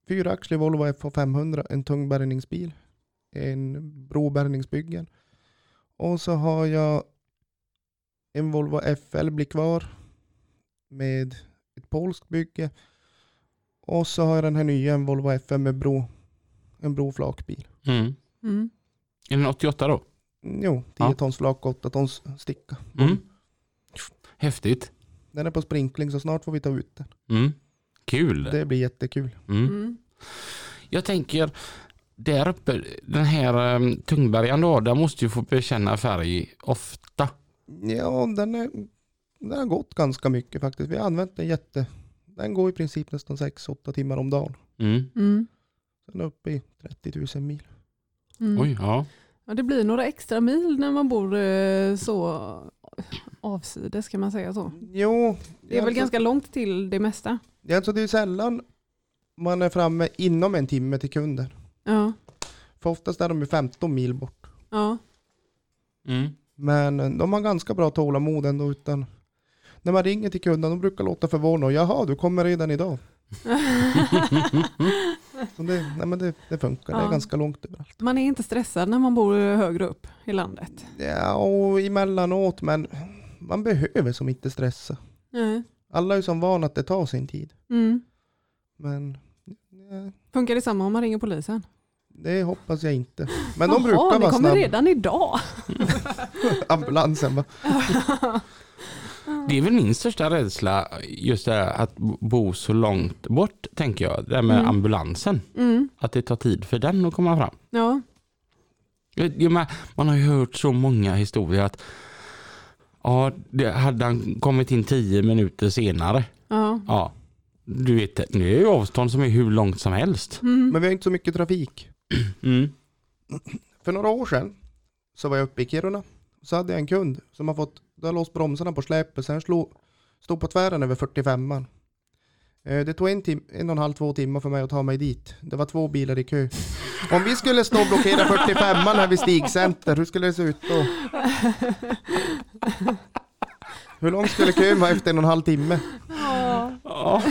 Speaker 6: fyraxlig Volvo FH500, en tung bärgningsbil, en brobärgningsbyggen och så har jag en Volvo FL blir kvar med ett polskt bygge och så har jag den här nya, en Volvo FM med bro, en broflakbil.
Speaker 2: Mm.
Speaker 1: Mm.
Speaker 2: Är den 88 då?
Speaker 6: Mm, Jo, 10
Speaker 2: Ja.
Speaker 6: tons flak, 8 tons sticka.
Speaker 2: Mm. Häftigt.
Speaker 6: Den är på sprinkling så snart får vi ta ut den.
Speaker 2: Mm. Kul.
Speaker 6: Det blir jättekul.
Speaker 2: Mm.
Speaker 1: Mm.
Speaker 2: Jag tänker, där uppe, den här um, tungbergaren du har, där måste ju få bekänna färg ofta.
Speaker 6: Ja, den, är, den har gått ganska mycket faktiskt. Vi har använt den jätte... Den går i princip nästan 6-8 timmar om dagen.
Speaker 2: Mm.
Speaker 1: Mm.
Speaker 6: Den är uppe i 30 000 mil.
Speaker 1: Mm.
Speaker 2: Oj, ja.
Speaker 1: Ja, det blir några extra mil när man bor eh, så avsides kan man säga så.
Speaker 6: Jo,
Speaker 1: Det är väl
Speaker 6: alltså,
Speaker 1: ganska långt till det mesta.
Speaker 6: det är Alltså det är sällan man är framme inom en timme till kunden.
Speaker 1: Ja,
Speaker 6: För oftast är de ju 15 mil bort.
Speaker 1: ja.
Speaker 2: Mm.
Speaker 6: Men eh, de har ganska bra tålamod ändå utan... När man ringer till kunden, de brukar låta förvånade. Jaha, du kommer redan idag. Så det, nej men det, det funkar, det
Speaker 1: Ja.
Speaker 6: är ganska långt överallt.
Speaker 1: Man är inte stressad när man bor högre upp i landet.
Speaker 6: Ja, och emellanåt, men man behöver som inte stressa.
Speaker 1: Nej.
Speaker 6: Alla är ju som van att det tar sin tid.
Speaker 1: Mm.
Speaker 6: Men ja,
Speaker 1: Funkar det samma om man ringer polisen?
Speaker 6: det hoppas jag inte. Men de
Speaker 1: Jaha,
Speaker 6: brukar
Speaker 1: ni
Speaker 6: vara
Speaker 1: kommer
Speaker 6: snabba.
Speaker 1: redan idag.
Speaker 6: Ambulansen bara.
Speaker 2: Det är väl min största rädsla, just det här att bo så långt bort, tänker jag. Det här med
Speaker 1: Mm.
Speaker 2: ambulansen,
Speaker 1: Mm.
Speaker 2: att det tar tid för den att komma fram.
Speaker 1: Ja.
Speaker 2: Jag- jag men- Man har ju hört så många historier att ja, det, hade han kommit in tio minuter senare,
Speaker 1: ja.
Speaker 2: ja, du vet, det är ju avstånd som är hur långt som helst.
Speaker 1: Mm.
Speaker 6: Men vi har inte så mycket trafik.
Speaker 2: Mm.
Speaker 6: För några år sedan så var jag uppe i Kiruna. Så hade jag en kund som har fått, då har låst bromsarna på släpet. Sen slog, stod på tvären över 45an. Eh, Det tog en, tim- en och en halv, två timmar för mig att ta mig dit. Det var två bilar i kö. Om vi skulle stå och blockera 45an här vid Stigcenter, hur skulle det se ut då? Hur lång skulle kön vara efter en och en halv timme?
Speaker 1: Ja.
Speaker 2: Ja.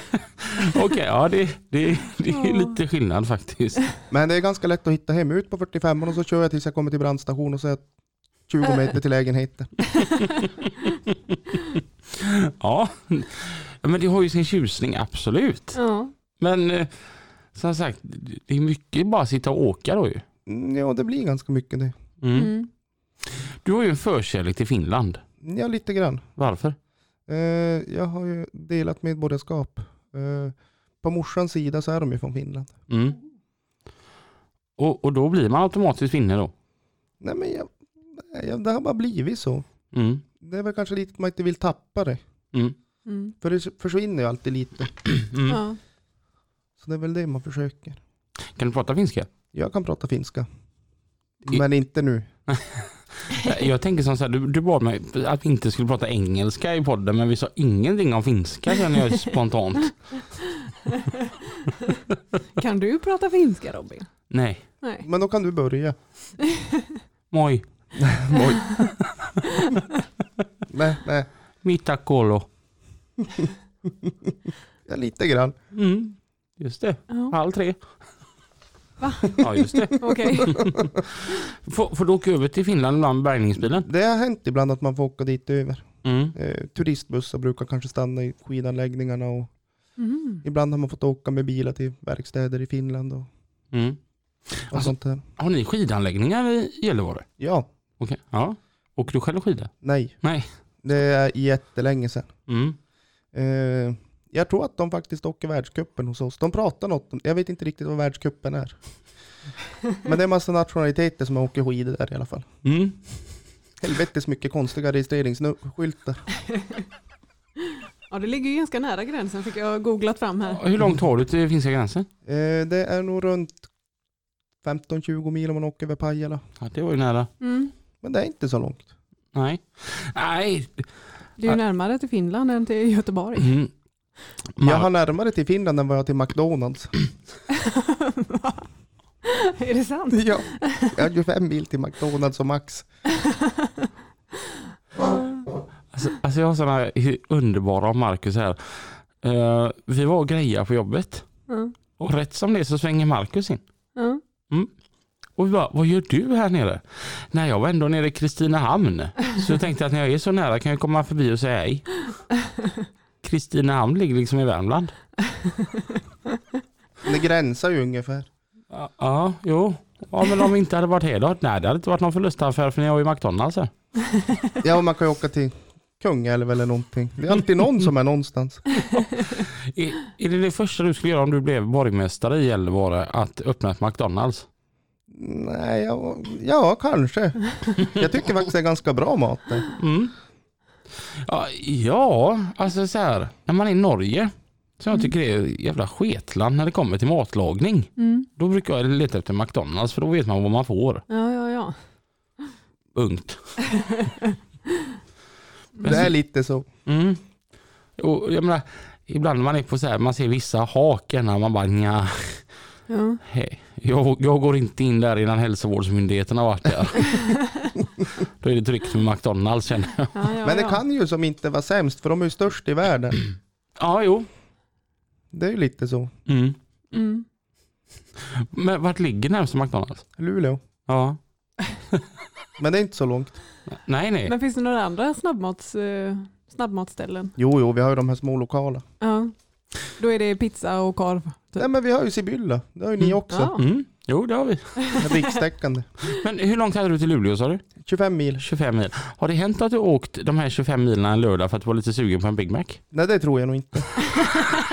Speaker 2: Okej, ja det, det, det är
Speaker 1: Ja.
Speaker 2: lite skillnad faktiskt.
Speaker 6: Men det är ganska lätt att hitta hem. Ut på 45an och så kör jag tills jag kommer till brandstation och så är jag 20 meter till lägenheten.
Speaker 2: Ja, men det har ju sin tjusning absolut.
Speaker 1: Ja.
Speaker 2: Men eh, som sagt, det är mycket bara att sitta och åka då ju.
Speaker 6: Mm, Ja, det blir ganska mycket det.
Speaker 2: Mm.
Speaker 1: Mm.
Speaker 2: Du har ju en förkärlek till Finland.
Speaker 6: Ja, lite grann.
Speaker 2: Varför?
Speaker 6: Eh, jag har ju delat medborgarskap. Eh, på morsans sida så är de ju från Finland.
Speaker 2: Mm. Och, och då blir man automatiskt finne då?
Speaker 6: Nej men jag, nej, jag, det har bara blivit så.
Speaker 2: Mm.
Speaker 6: Det är väl kanske lite att man inte vill tappa det.
Speaker 2: Mm.
Speaker 1: Mm.
Speaker 6: För det försvinner ju alltid lite.
Speaker 2: Mm.
Speaker 1: Ja.
Speaker 6: Så det är väl det man försöker.
Speaker 2: Kan du prata finska?
Speaker 6: Jag kan prata finska.
Speaker 2: I-
Speaker 6: Men inte nu.
Speaker 2: Jag tänker som så här, du, du bad mig att vi inte skulle prata engelska i podden men vi sa ingenting om finska känner jag spontant.
Speaker 1: Kan du prata finska Robin?
Speaker 2: Nej.
Speaker 1: Nej.
Speaker 6: Men då kan du börja.
Speaker 2: Moi.
Speaker 6: Oj. nej, nej.
Speaker 2: Mitä kolo.
Speaker 6: Ja, lite grann.
Speaker 2: Mm. Just det.
Speaker 1: Ja,
Speaker 2: Halv tre.
Speaker 1: Va?
Speaker 2: Ja, just det.
Speaker 1: Okej.
Speaker 2: Får, får du åka över till Finland ibland med bärgningsbilen?
Speaker 6: Det har hänt ibland att man får åka dit över.
Speaker 2: Mm.
Speaker 6: Eh, turistbussar brukar kanske stanna i skidanläggningarna och
Speaker 1: Mm.
Speaker 6: ibland har man fått åka med bilar till verkstäder i Finland och,
Speaker 2: Mm.
Speaker 6: och
Speaker 2: Alltså-
Speaker 6: sånt där.
Speaker 2: Har ni skidanläggningar i Gällivare?
Speaker 6: Ja,
Speaker 2: Okej. Ja. Åker du själv skida?
Speaker 6: nej.
Speaker 2: Nej.
Speaker 6: Det är jättelänge sedan.
Speaker 2: Mm.
Speaker 6: Eh, jag tror att de faktiskt åker världscupen hos oss. De pratar något, om- jag vet inte riktigt vad världscupen är. Men det är massa nationaliteter som åker skidor där i alla fall.
Speaker 2: Mm.
Speaker 6: Helvetes mycket konstiga registreringsskyltar.
Speaker 1: Ja, det ligger ju ganska nära gränsen fick jag googlat fram här.
Speaker 2: Hur långt har du till finska gränsen?
Speaker 6: Eh, det är nog runt 15-20 mil om man åker över Pajala.
Speaker 2: Ja, det var ju nära.
Speaker 1: Mm.
Speaker 6: Men det är inte så långt.
Speaker 2: Nej. Nej.
Speaker 1: Det är ju närmare till Finland än till Göteborg.
Speaker 2: Mm.
Speaker 6: Jag
Speaker 2: Man-
Speaker 6: har närmare till Finland än vad jag har till McDonalds.
Speaker 1: Va? är det sant?
Speaker 6: ja, jag har 25 mil till McDonalds och Max.
Speaker 2: Alltså, alltså jag har sådana underbara av Marcus här. Eh, vi var och grejade på jobbet
Speaker 1: Ja.
Speaker 2: och rätt som det så svänger Marcus in.
Speaker 1: Ja.
Speaker 2: Och vi bara, vad gör du här nere? Nej, jag var ändå nere i Kristinehamn. Så jag tänkte att när jag är så nära kan jag komma förbi och säga hej. Kristinehamn ligger liksom i Värmland.
Speaker 6: Det gränsar ju ungefär.
Speaker 2: Ja, ja, jo. Ja, men om vi inte hade varit här då? Nej, det hade inte varit någon förlustaffär för ni har ju McDonalds här.
Speaker 6: Ja, och man kan ju åka till Kungälv eller någonting. Det är alltid någon som är någonstans.
Speaker 2: Är, är det det första du skulle göra om du blev borgmästare i Gällivare, att öppna ett McDonalds?
Speaker 6: Nej, ja, ja kanske. Jag tycker faktiskt det är ganska bra mat där.
Speaker 2: Mm. Ja, ja, alltså så här, när man är i Norge, så jag tycker det är jävla sketland när det kommer till matlagning.
Speaker 1: Mm.
Speaker 2: Då brukar jag leta efter McDonalds för då vet man vad man får.
Speaker 1: ja, ja, ja.
Speaker 2: Punkt. Men
Speaker 6: Det är
Speaker 2: så-
Speaker 6: lite så.
Speaker 2: mm. och jag menar, ibland när man är på så här, man ser vissa haken när man bara nja,
Speaker 1: ja.
Speaker 2: hej. Jag, jag går inte in där innan hälsovårdsmyndigheten har varit där. då är det tryggt med McDonalds känner jag.
Speaker 1: ja, ja
Speaker 6: Men det
Speaker 1: ja.
Speaker 6: kan ju som inte vara sämst, för de är ju störst i världen.
Speaker 2: Ja, jo.
Speaker 6: Det är ju lite så.
Speaker 2: Mm.
Speaker 1: Mm.
Speaker 2: Men vart ligger närmsta McDonalds?
Speaker 6: Luleå.
Speaker 2: Ja.
Speaker 6: Men det är inte så långt.
Speaker 2: Nej, nej.
Speaker 1: Men finns det några andra snabbmats, eh, snabbmatsställen?
Speaker 6: Jo, jo, vi har ju de här små lokala.
Speaker 1: Ja. Då är det pizza och korv.
Speaker 6: Nej, men vi har ju Sibylla. Det har ju ni
Speaker 2: Mm.
Speaker 6: också.
Speaker 2: Mm. Jo, det har vi.
Speaker 6: Rikstäckande.
Speaker 2: Men hur långt hade du till Luleå sa du?
Speaker 6: 25 mil.
Speaker 2: 25 mil. Har det hänt att du åkt de här 25 milen en lördag för att du var lite sugen på en Big Mac?
Speaker 6: Nej, det tror jag nog inte.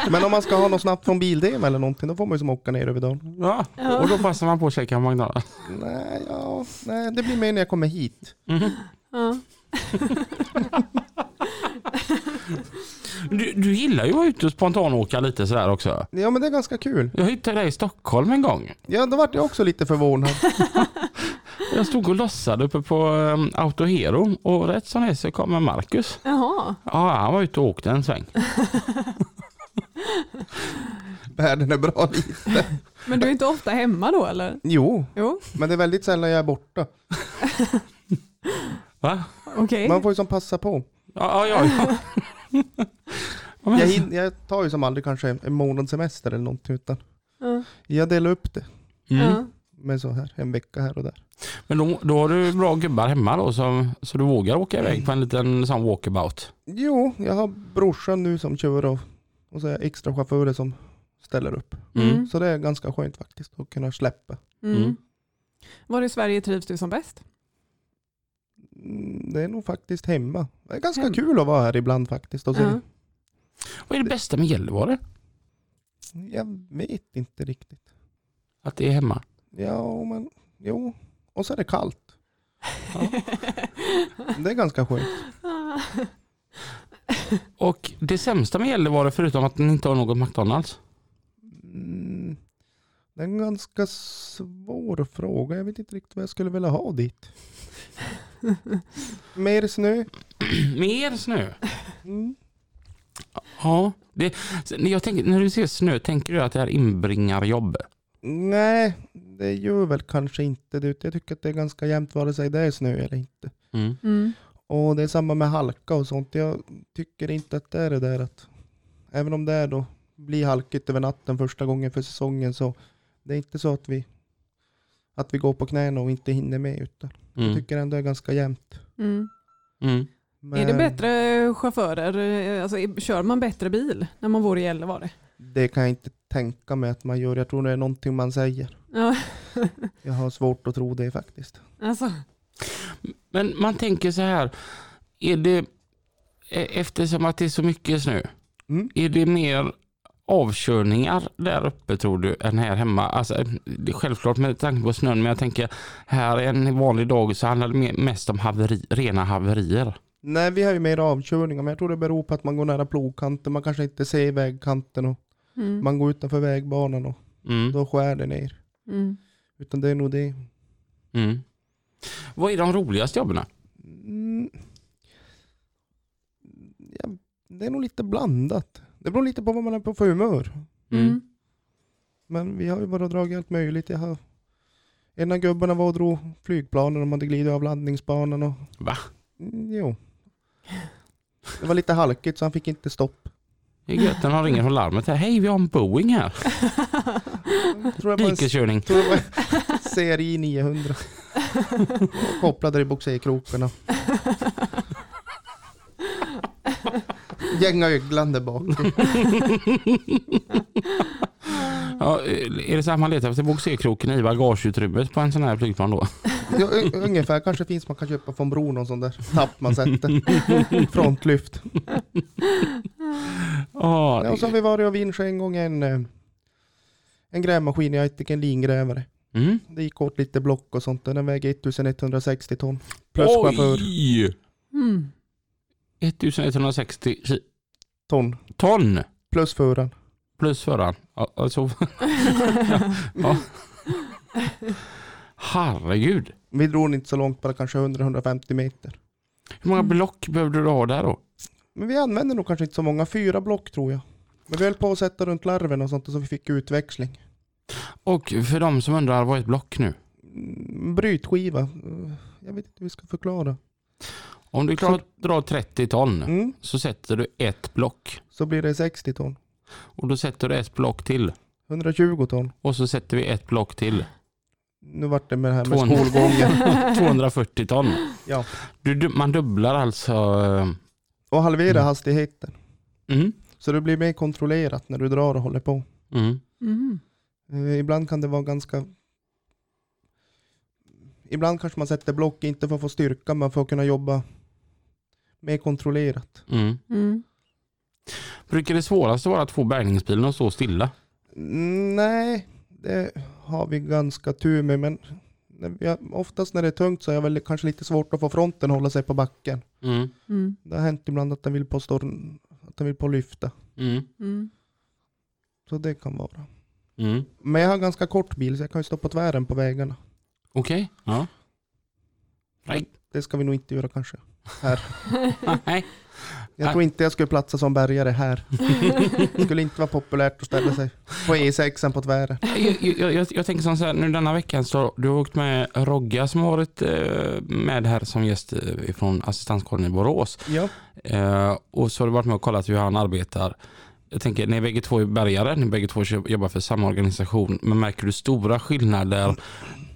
Speaker 6: Men om man ska ha något snabbt från bildem eller någonting, då får man ju som åka ner över dagen.
Speaker 2: Ja, och då passar man på att käka en McDonalds.
Speaker 6: Nej, ja, nej, det blir mer när jag kommer hit.
Speaker 2: Mhm.
Speaker 1: Ja.
Speaker 2: Du, du gillar ju att vara ute och spontanåka lite sådär också.
Speaker 6: Ja, men det är ganska kul.
Speaker 2: Jag hittade dig i Stockholm en gång.
Speaker 6: Ja, då vart jag också lite förvånad.
Speaker 2: Jag stod och lossade uppe på um, Autohero och rätt som det är så kommer Marcus.
Speaker 1: Jaha.
Speaker 2: Ja, han var ute och åkte en sväng.
Speaker 6: Världen är bra lite.
Speaker 1: Men du är inte ofta hemma då eller?
Speaker 6: Jo,
Speaker 1: Jo,
Speaker 6: men det är väldigt sällan jag är borta.
Speaker 2: Va?
Speaker 1: okej.
Speaker 6: Man får ju som passa på.
Speaker 2: Ja, ja, ja. ja.
Speaker 6: Jag,
Speaker 2: men-
Speaker 6: hin- jag tar ju som aldrig kanske en månads semester eller någonting, utan
Speaker 1: Ja.
Speaker 6: jag delar upp det
Speaker 2: Mm.
Speaker 1: Ja.
Speaker 6: med så här, en vecka här och där.
Speaker 2: Men då, då har du bra gubbar hemma då som, så du vågar åka iväg på en liten sån walkabout.
Speaker 6: Jo, jag har brorsan nu som kör och, och så är jag extra chaufförer som ställer upp.
Speaker 1: Mm.
Speaker 6: Så det är ganska skönt faktiskt att kunna släppa.
Speaker 1: Mm.
Speaker 2: Mm.
Speaker 1: Var i Sverige trivs du som bäst?
Speaker 6: Mm, Det är nog faktiskt hemma. Det är ganska
Speaker 1: Hem.
Speaker 6: kul att vara här ibland faktiskt. Och så,
Speaker 1: Ja.
Speaker 2: Vad är det bästa med Gällivare?
Speaker 6: Jag vet inte riktigt.
Speaker 2: Att det är hemma.
Speaker 6: Ja, men jo. Och så är det kallt. Det är ganska skönt.
Speaker 2: Och det sämsta med Gällivare förutom att den inte har något McDonalds.
Speaker 6: Mm, Det är en ganska svår fråga. Jag vet inte riktigt vad jag skulle vilja ha dit. Mer snö.
Speaker 2: Mer snö.
Speaker 6: Mm.
Speaker 2: Ja. Det, jag tänker, när du ser snö, tänker du att det här inbringar jobb?
Speaker 6: Nej, det gör väl kanske inte det. Jag tycker att det är ganska jämnt vare sig det är snö eller inte.
Speaker 2: Mm.
Speaker 1: Mm.
Speaker 6: Och det är samma med halka och sånt. Jag tycker inte att det är det där att även om det är då blir halkigt över natten första gången för säsongen så det är inte så att vi att vi går på knäna och inte hinner med utan jag
Speaker 2: Mm.
Speaker 6: tycker ändå det är ganska jämnt.
Speaker 1: Mm.
Speaker 2: Mm.
Speaker 1: Är det
Speaker 6: Men
Speaker 1: bättre chaufförer? eh, Alltså, är- kör man bättre bil när man bor i Gällivare?
Speaker 6: Det kan jag inte tänka mig att man gör. Jag tror det är någonting man säger.
Speaker 1: Ja,
Speaker 6: Jag har svårt att tro det faktiskt.
Speaker 1: alltså.
Speaker 2: Men man tänker så här, är det, e- eftersom att det är så mycket snö,
Speaker 6: Mm.
Speaker 2: är det mer avkörningar där uppe tror du än här hemma? Alltså, det är självklart med tanke på snön, men jag tänker här en vanlig dag så handlar det mer- mest om haveri, rena haverier.
Speaker 6: Nej, vi har ju mer avkörningar, men jag tror det beror på att man går nära plogkanten. Man kanske inte ser vägkanten och
Speaker 1: Mm.
Speaker 6: man går utanför vägbanan och
Speaker 2: Mm.
Speaker 6: då skär det ner.
Speaker 1: Mm.
Speaker 6: Utan det är nog det.
Speaker 2: Mm. Vad är de roligaste jobben?
Speaker 6: Mm. Ja, det är nog lite blandat. Det beror lite på vad man är på för humör.
Speaker 1: Mm.
Speaker 6: Men vi har ju bara dragit allt möjligt. Jag har... En av gubbarna var och drog flygplanen. De hade glidit av landningsbanan. Och...
Speaker 2: Va?
Speaker 6: Mm, jo. Det var lite halkigt så han fick inte stopp.
Speaker 2: Det är gött när de ringer från larmet. här, Hej, vi har en Boeing här.
Speaker 6: Jag tror det var en,
Speaker 2: Dikeskörning.
Speaker 6: tror det var en CRI 900. Kopplade i bogserkrokarna. Gänga öglan där bak.
Speaker 2: Ja, eh, är det så att man letar efter bogserkroken i bagageutrymmet på en sån här flygplan då?
Speaker 6: Ja, u- ungefär kanske finns man kan köpa från Bro någon sån där tapp man sätter. Frontlyft.
Speaker 2: Ja,
Speaker 6: Ja, och så har vi varit och vinschat en gång en, eh, en grävmaskin i Aitik, en lingrävare.
Speaker 2: mm.
Speaker 6: Det gick åt lite block och sånt. Den väger 1160 ton. Plus chaufför.
Speaker 2: Oj!
Speaker 1: Mm.
Speaker 2: 1160 ki-
Speaker 6: Ton.
Speaker 2: ton
Speaker 6: Plus föraren.
Speaker 2: plus föraren. Ja, Alltså, ja. Herregud.
Speaker 6: Vi drog den inte så långt, bara kanske 100-150 meter.
Speaker 2: Hur många block behövde du ha där då?
Speaker 6: Men vi använde nog kanske inte så många, fyra block tror jag. Men vi höll på att sätta runt larven och sånt och så vi fick utväxling.
Speaker 2: Och för de som undrar, vad är ett block nu?
Speaker 6: Mm, Brytskiva. Mm, Jag vet inte hur vi ska förklara.
Speaker 2: Om du klarar att dra 30 ton
Speaker 6: Mm,
Speaker 2: så sätter du ett block.
Speaker 6: så blir det 60 ton.
Speaker 2: Och då sätter du ett block till.
Speaker 6: 120 ton.
Speaker 2: Och så sätter vi ett block till.
Speaker 6: Nu vart det med det här med
Speaker 2: 200.
Speaker 6: skolgången.
Speaker 2: 240 ton.
Speaker 6: Ja.
Speaker 2: Du, du, man dubblar alltså... eh,
Speaker 6: Och halvera
Speaker 2: Mm.
Speaker 6: hastigheten.
Speaker 2: Mm,
Speaker 6: Så det blir mer kontrollerat när du drar och håller på.
Speaker 2: mm,
Speaker 1: Mm.
Speaker 6: Eh, Ibland kan det vara ganska... Ibland kanske man sätter block, inte för att få styrka, men för att kunna jobba mer kontrollerat.
Speaker 2: mm.
Speaker 1: Mm.
Speaker 2: Brukar det svåraste vara att få bärgningsbilen att stå stilla?
Speaker 6: Mm, Nej, det har vi ganska tur med, men när jag, oftast när det är tungt så är jag väl kanske lite svårt att få fronten att hålla sig på backen.
Speaker 2: Mm,
Speaker 1: Mm.
Speaker 6: Det har hänt ibland att den vill på storm, att den vill på lyfta.
Speaker 2: mm,
Speaker 1: Mm.
Speaker 6: Så det kan vara.
Speaker 2: mm.
Speaker 6: Men jag har ganska kort bil så jag kan ju stå på tvären på vägarna.
Speaker 2: Okej. Ja. Nej.
Speaker 6: Det ska vi nog inte göra kanske.
Speaker 2: Nej.
Speaker 6: Jag
Speaker 2: Ah.
Speaker 6: tror inte jag skulle platsa som bärgare här. Det skulle inte vara populärt att ställa sig på E6 på tvären.
Speaker 2: Jag, jag, jag, jag tänker som så här, nu denna veckan så du har åkt med Rogga som har varit eh, med här som gäst eh, från assistanskåren i Borås.
Speaker 6: Ja.
Speaker 2: Eh, och så har du varit med och kollat hur han arbetar. Jag tänker, ni bägge två är bärgare, ni bägge två jobb- jobbar för samma organisation, men märker du stora skillnader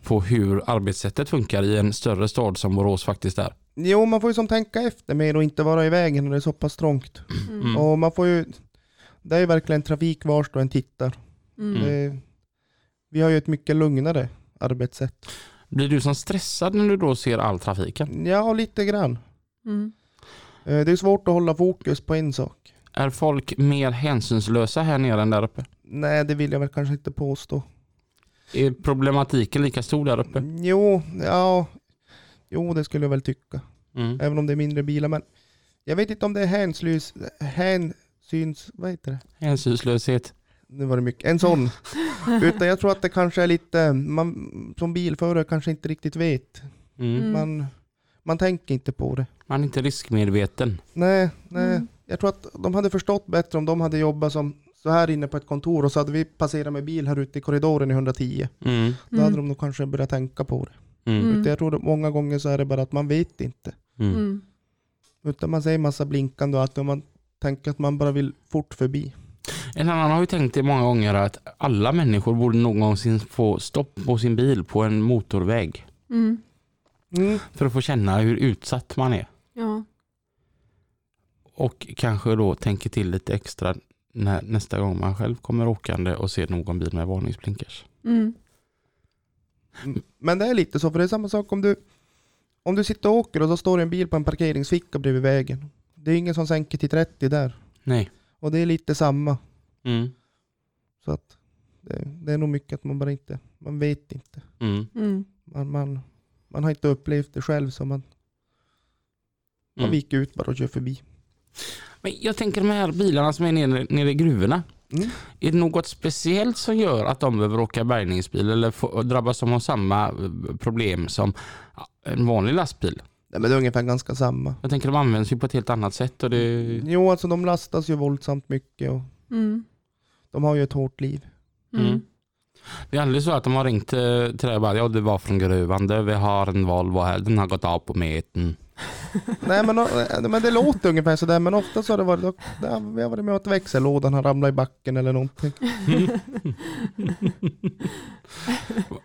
Speaker 2: på hur arbetssättet funkar i en större stad som Borås faktiskt är?
Speaker 6: Jo, man får ju som tänka efter mer och inte vara i vägen när det är så pass trångt.
Speaker 2: Mm.
Speaker 6: Och man får ju... Det är ju verkligen trafik vars då en tittar.
Speaker 1: Mm.
Speaker 6: Det, vi har ju ett mycket lugnare arbetssätt.
Speaker 2: Blir du som stressad när du då ser all trafiken?
Speaker 6: Ja, lite grann.
Speaker 1: Mm.
Speaker 6: Eh, Det är svårt att hålla fokus på en sak.
Speaker 2: Är folk mer hänsynslösa här nere än där uppe?
Speaker 6: Nej, det vill jag väl kanske inte påstå.
Speaker 2: Är problematiken lika stor där uppe?
Speaker 6: Jo, ja. Jo, det skulle jag väl tycka.
Speaker 2: Mm.
Speaker 6: Även om det är mindre bilar. Men jag vet inte om det är hänslyns, hänsyns... Vad heter det?
Speaker 2: Hänsynslöshet.
Speaker 6: Nu var det mycket. En sån. Utan jag tror att det kanske är lite... Man som bilförare kanske inte riktigt vet.
Speaker 2: Mm.
Speaker 1: Mm.
Speaker 6: Man, man tänker inte på det.
Speaker 2: Man är inte riskmedveten.
Speaker 6: Nej, nej.
Speaker 1: Mm.
Speaker 6: Jag tror att de hade förstått bättre om de hade jobbat som så här inne på ett kontor och så hade vi passerat med bil här ute i korridoren i 110.
Speaker 2: Mm.
Speaker 6: Då hade de nog kanske börjat tänka på det.
Speaker 2: Mm.
Speaker 1: Mm.
Speaker 6: Jag tror att många gånger så är det bara att man vet inte.
Speaker 2: Mm.
Speaker 1: Mm.
Speaker 6: Utan man säger massa blinkande och allt och man tänker att man bara vill fort förbi.
Speaker 2: En annan har ju tänkt det många gånger att alla människor borde någonsin få stopp på sin bil på en motorväg
Speaker 1: Mm.
Speaker 6: Mm.
Speaker 2: för att få känna hur utsatt man är.
Speaker 1: Ja.
Speaker 2: Och kanske då tänker till lite extra när, nästa gång man själv kommer åkande och ser någon bil med varningsblinkers.
Speaker 1: Mm.
Speaker 6: Men det är lite så, för det är samma sak om du, om du sitter och åker och så står det en bil på en parkeringsficka bredvid vägen. Det är ingen som sänker till 30 där.
Speaker 2: Nej.
Speaker 6: Och det är lite samma.
Speaker 2: Mm.
Speaker 6: Så att det, det är nog mycket att man bara inte, man vet inte.
Speaker 2: Mm.
Speaker 1: Mm.
Speaker 6: Man, man, man har inte upplevt det själv så man, man
Speaker 2: Mm.
Speaker 6: viker ut bara och kör förbi.
Speaker 2: Men jag tänker de här bilarna som är nere, nere i gruvorna.
Speaker 6: Mm.
Speaker 2: Är det något speciellt som gör att de behöver åka bärgningsbil eller få, drabbas de av samma eh, problem som en vanlig lastbil?
Speaker 6: Nej, men det är ungefär ganska samma.
Speaker 2: Jag tänker de används ju på ett helt annat sätt och det...
Speaker 6: Jo, alltså de lastas ju våldsamt mycket och
Speaker 1: Mm.
Speaker 6: de har ju ett hårt liv.
Speaker 2: Mm.
Speaker 1: Mm.
Speaker 2: Det är aldrig så att de har ringt eh, till dig och bara ja du var från gruvan, du, vi har en Volvo här, den har gått av på meten.
Speaker 6: Nej, men, eh, men det låter ungefär sådär, men ofta så har det varit, ja, vi har varit med om att växellådan har ramlat i backen eller någonting.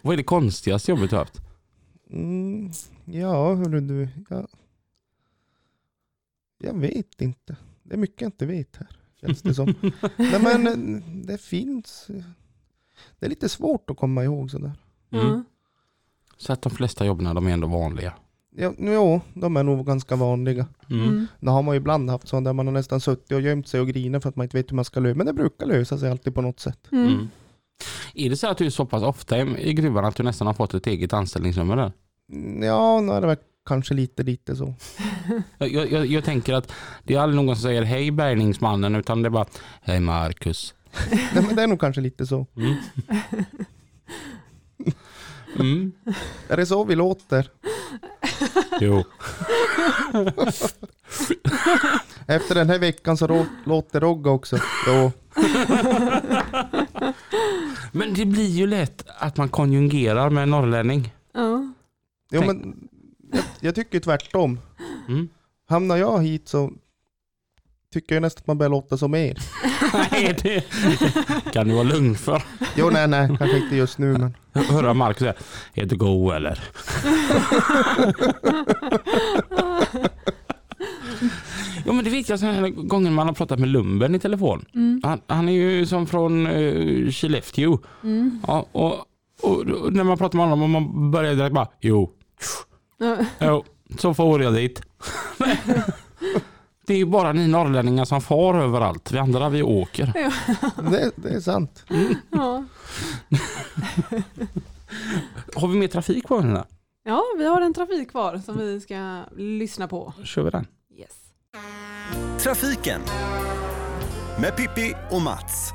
Speaker 2: Vad är det konstigaste jobbet du har haft?
Speaker 6: Mm, ja, hörru du. Jag, jag vet inte. Det är mycket jag inte vet här, känns det som. Nej men eh, det finns. eh, Det är lite svårt att komma ihåg sådär.
Speaker 1: Ja.
Speaker 2: Så att de flesta jobben de är ändå vanliga.
Speaker 6: Ja, jo, de är nog ganska vanliga.
Speaker 1: Mm.
Speaker 6: Det har man ju ibland haft sådana där man har nästan suttit och gömt sig och grinat för att man inte vet hur man ska lösa Men det brukar lösa sig alltid på något sätt.
Speaker 1: Mm.
Speaker 2: Mm. Är det så att du är så pass ofta i i gruvan att du nästan har fått ett eget anställningsnummer där?
Speaker 6: Mm, Ja, nu är det väl kanske lite, lite så.
Speaker 2: Jag, jag- jag, jag tänker att det är aldrig någon som säger hej bärgningsmannen utan det är bara hej Marcus.
Speaker 6: Nej, men det är nog kanske lite så.
Speaker 2: Mm. Mm.
Speaker 6: Är det så vi låter?
Speaker 2: Jo.
Speaker 6: Efter den här veckan så rå- låter Rogga också. Då.
Speaker 2: Men det blir ju lätt att man konjungerar med en norrlänning.
Speaker 1: Ja.
Speaker 6: Jo,
Speaker 2: Tänk-
Speaker 6: men jag, jag tycker ju tvärtom.
Speaker 2: Mm.
Speaker 6: Hamnar jag hit så tycker jag nästan att man börjar låta som er.
Speaker 2: Nej, det kan du vara lugn för.
Speaker 6: Jo, nej, nej, kanske inte just nu, men
Speaker 2: Höra Marcus säga, är du god eller? Jo men det viktigaste den här gången man har pratat med Lumben i telefon.
Speaker 1: Mm.
Speaker 2: Han, han är ju som från uh, Skellefteå.
Speaker 1: Mm.
Speaker 2: Ja, och, och, och när man pratar med honom och man börjar direkt bara, jo,
Speaker 1: Ja.
Speaker 2: jo så får jag dit. det är ju bara ni norrlänningar som far överallt. Vi andra vi åker.
Speaker 6: det, det är sant.
Speaker 1: Ja.
Speaker 2: Har vi mer trafik på den här?
Speaker 1: ja, vi har en trafik kvar som vi ska lyssna på.
Speaker 2: Kör vi den?
Speaker 1: Yes.
Speaker 3: Trafiken med Pippi och Mats.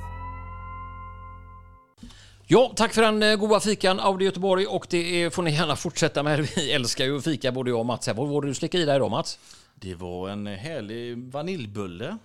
Speaker 4: Ja, tack för den eh, goda fikan Audi Göteborg och det eh, får ni gärna fortsätta med. Vi älskar ju att fika både jag och Mats. här. Vad var det du slickade i dig idag Mats?
Speaker 5: Det var en härlig vaniljbulle.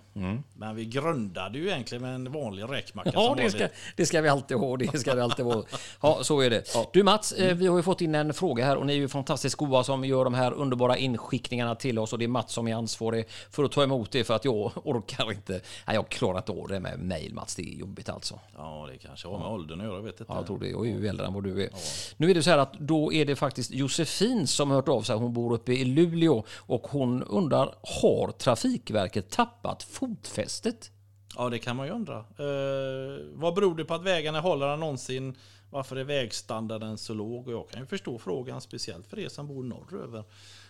Speaker 5: Men vi grundade ju egentligen med en vanlig räkmacka.
Speaker 4: Ja,
Speaker 5: som
Speaker 4: det ska,
Speaker 5: vanligt.
Speaker 4: det ska vi alltid ha. Det ska vi alltid ha. Ja, så är det. Du Mats, eh, vi har ju fått in en fråga här och ni är ju fantastiskt goa som gör de här underbara inskickningarna till oss och det är Mats som är ansvarig för att ta emot det för att jag orkar inte. Nej, jag klarar inte av det med mejl Mats. Det är jobbigt alltså.
Speaker 5: Ja, det kanske har med åldern att göra. Jag vet inte.
Speaker 4: Ja, jag tror det. Jag är ju äldre än vad du är. Nu är det så här att då är det faktiskt Josefin som har hört av sig. Hon bor uppe i Luleå och hon undrar, har Trafikverket tappat fotfästet?
Speaker 5: Ja, det kan man ju undra. Eh, vad beror det på att vägarna är hållare än någonsin? Varför är vägstandarden så låg? Och jag kan ju förstå frågan, speciellt för er som bor norröver.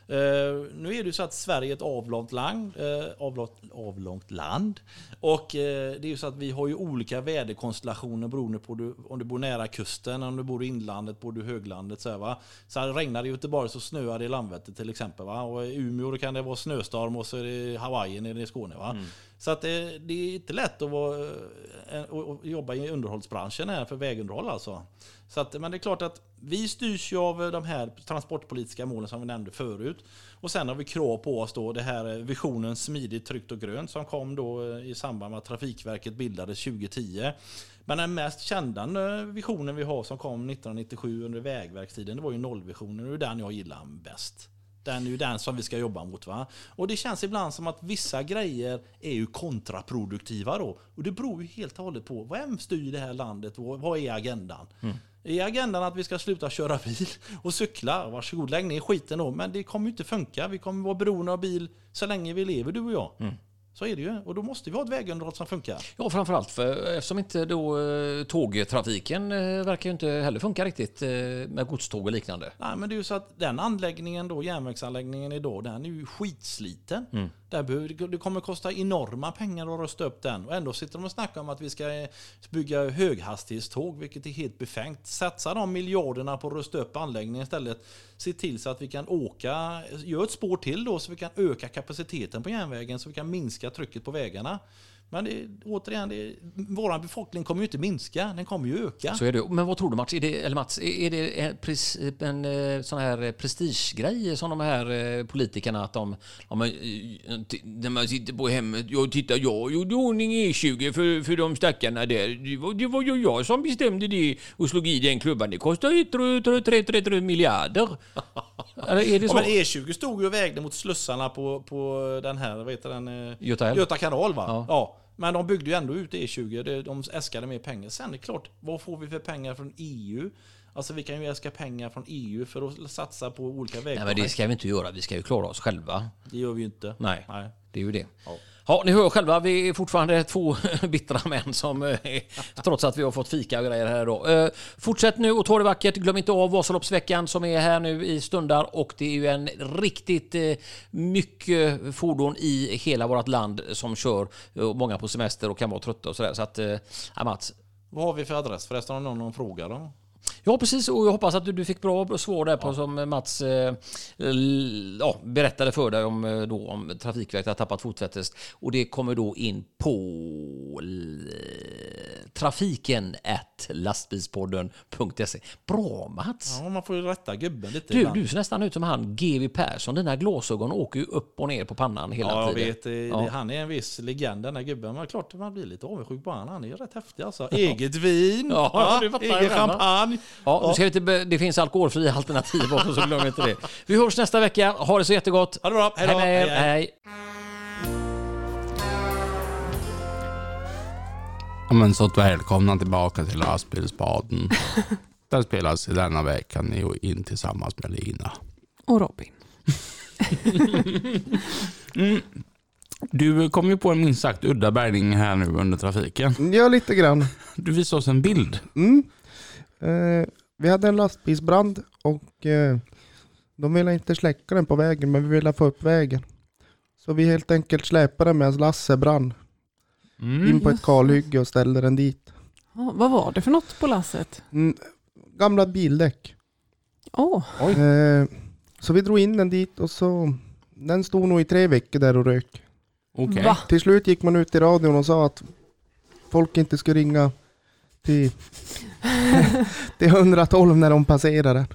Speaker 5: Eh, nu är det ju så att Sverige är ett avlångt land. eh, avlångt, avlångt land. Och eh, det är ju så att vi har ju olika väderkonstellationer beroende på du, om du bor nära kusten, om du bor i inlandet, bor du i höglandet. Så, här, va? så här, regnar det i Göteborg så snöar det i Landvetter till exempel. Va? Och I Umeå då kan det vara snöstorm och så är det Hawaii nere i Skåne. Va? Så att det, det är inte lätt att vara, eh, och- och jobba i underhållsbranschen här för vägunderhåll alltså. Så att, men det är klart att vi styrs ju av eh, de här transportpolitiska målen som vi nämnde förut. Och sen har vi krav på oss då det här eh, visionen smidigt, tryggt och grönt som kom då eh, i samband med att Trafikverket bildades 2010. Men den mest kända eh, visionen vi har som kom 1997 under Vägverkstiden det var ju nollvisionen och det är den jag gillar bäst. Den är ju den som vi ska jobba mot. va? Och det känns ibland som att vissa grejer är ju kontraproduktiva då. Och det beror ju helt och hållet på vem styr det här landet och vad är agendan? Är agendan att vi ska sluta köra bil och cykla? Varsågod, lägg ner skiten då. Men det kommer ju inte funka. Vi kommer vara beroende av bil så länge vi lever, du och jag. Så är det ju. Och då måste vi ha ett vägunderhåll som funkar.
Speaker 4: Ja, framförallt för, eftersom inte då eh, tågtrafiken eh, verkar ju inte heller funka riktigt eh, med godståg och liknande.
Speaker 5: Nej, men det är ju så att den anläggningen då, järnvägsanläggningen idag, den är ju skitsliten. Där behöver, det kommer kosta enorma pengar att rusta upp den. Och ändå sitter de och snackar om att vi ska eh, bygga höghastighetståg, vilket är helt befängt. Satsa de miljarderna på att rusta upp anläggningen istället. Se till så att vi kan åka, gör ett spår till då så vi kan öka kapaciteten på järnvägen så vi kan minska trycket på vägarna. Men det, återigen, det, vår befolkning kommer ju inte minska, den kommer ju öka.
Speaker 4: Så är det. Men vad tror du Mats? Är det, eller Mats, är är det en, pres- en eh, sån här eh, prestigegrej som de här eh, politikerna att de... Ja, men, eh, t- när man sitter på hemmet, jag tittar, jag gjorde i ordning E20 för, för de stackarna där. Det var, det var ju jag som bestämde det och slog i den klubban. Det kostar ju 3 miljarder. Eller är det
Speaker 5: Ja,
Speaker 4: så?
Speaker 5: men E20 stod ju och vägde mot slussarna på, på den här, vad heter den? eh,
Speaker 4: Göta älv.
Speaker 5: Göta kanal va?
Speaker 4: Ja.
Speaker 5: Ja. Men de byggde ju ändå ut E20, det- de äskade mer pengar. Sen är det klart, vad får vi för pengar från EU? Alltså vi kan ju äska pengar från EU för att satsa på olika
Speaker 4: Nej, men
Speaker 5: vägprojekt.
Speaker 4: det ska vi inte göra. Vi ska ju klara oss själva.
Speaker 5: det gör vi ju inte.
Speaker 4: Nej.
Speaker 5: Nej.
Speaker 4: Det är ju det. Ja. ni hör själva, vi är fortfarande två bittra män som eh, trots att vi har fått fika och grejer här idag. Eh, Fortsätt nu och ta det vackert. Glöm inte av Vasaloppsveckan som är här nu i stundar och det är ju en riktigt eh, mycket fordon i hela vårt land som kör. eh, Och Många på semester och kan vara trötta och sådär. Så att, eh, ja, Mats,
Speaker 5: Vad har vi för adress förresten om någon frågar då?
Speaker 4: Ja, precis. Och jag hoppas att du, du fick bra svar där på som Mats eh, l- ja, berättade för dig om, eh, då, om Trafikverket har tappat fotfästet. Och det kommer då in på l- trafiken at lastbilspodden.se. Bra Mats!
Speaker 5: Ja, man får ju rätta gubben lite
Speaker 4: Du,
Speaker 5: ibland.
Speaker 4: du ser nästan ut som han GW Persson. Dina glasögon åker ju upp och ner på pannan hela
Speaker 5: Ja, jag
Speaker 4: tiden.
Speaker 5: vet. eh,
Speaker 4: Ja.
Speaker 5: Det, han är en viss legend den här gubben. Men klart man blir lite avundsjuk på han. Han är ju rätt häftig alltså. Eget vin,
Speaker 4: Ja,
Speaker 5: va?
Speaker 4: du fattar ju
Speaker 5: egen
Speaker 4: den, va?
Speaker 5: champagne.
Speaker 4: Ja, nu ska vi inte, be- det finns alkoholfria alternativ också, så glöm inte det. Vi hörs nästa vecka. Ha det så jättegott!
Speaker 5: Ha det bra. Hej då.
Speaker 4: med er.
Speaker 5: Hej, hej.
Speaker 4: hej.
Speaker 2: Ja, men så att välkomna tillbaka till lastbilsbaden. Den spelas i denna veckan i och in tillsammans med Lina.
Speaker 1: Och Robin.
Speaker 2: Du kom ju på en minst sagt udda bärgning här nu under trafiken.
Speaker 6: Ja, lite grann.
Speaker 2: Du visade oss en bild.
Speaker 6: Mm. Eh, vi hade en lastbilsbrand och eh, de ville inte släcka den på vägen men vi ville få upp vägen. Så vi helt enkelt släpade den medan Lasse brann
Speaker 2: Mm.
Speaker 6: in på ett kalhygge och ställde den dit.
Speaker 1: Ja, vad var det för något på lasset?
Speaker 6: Mm. Gamla bildäck.
Speaker 1: Åh,
Speaker 6: Eh, så vi drog in den dit och så den stod nog i tre veckor där och rök.
Speaker 2: Okej.
Speaker 1: va?
Speaker 6: Till slut gick man ut i radion och sa att folk inte skulle ringa till, till 112 när de passerade.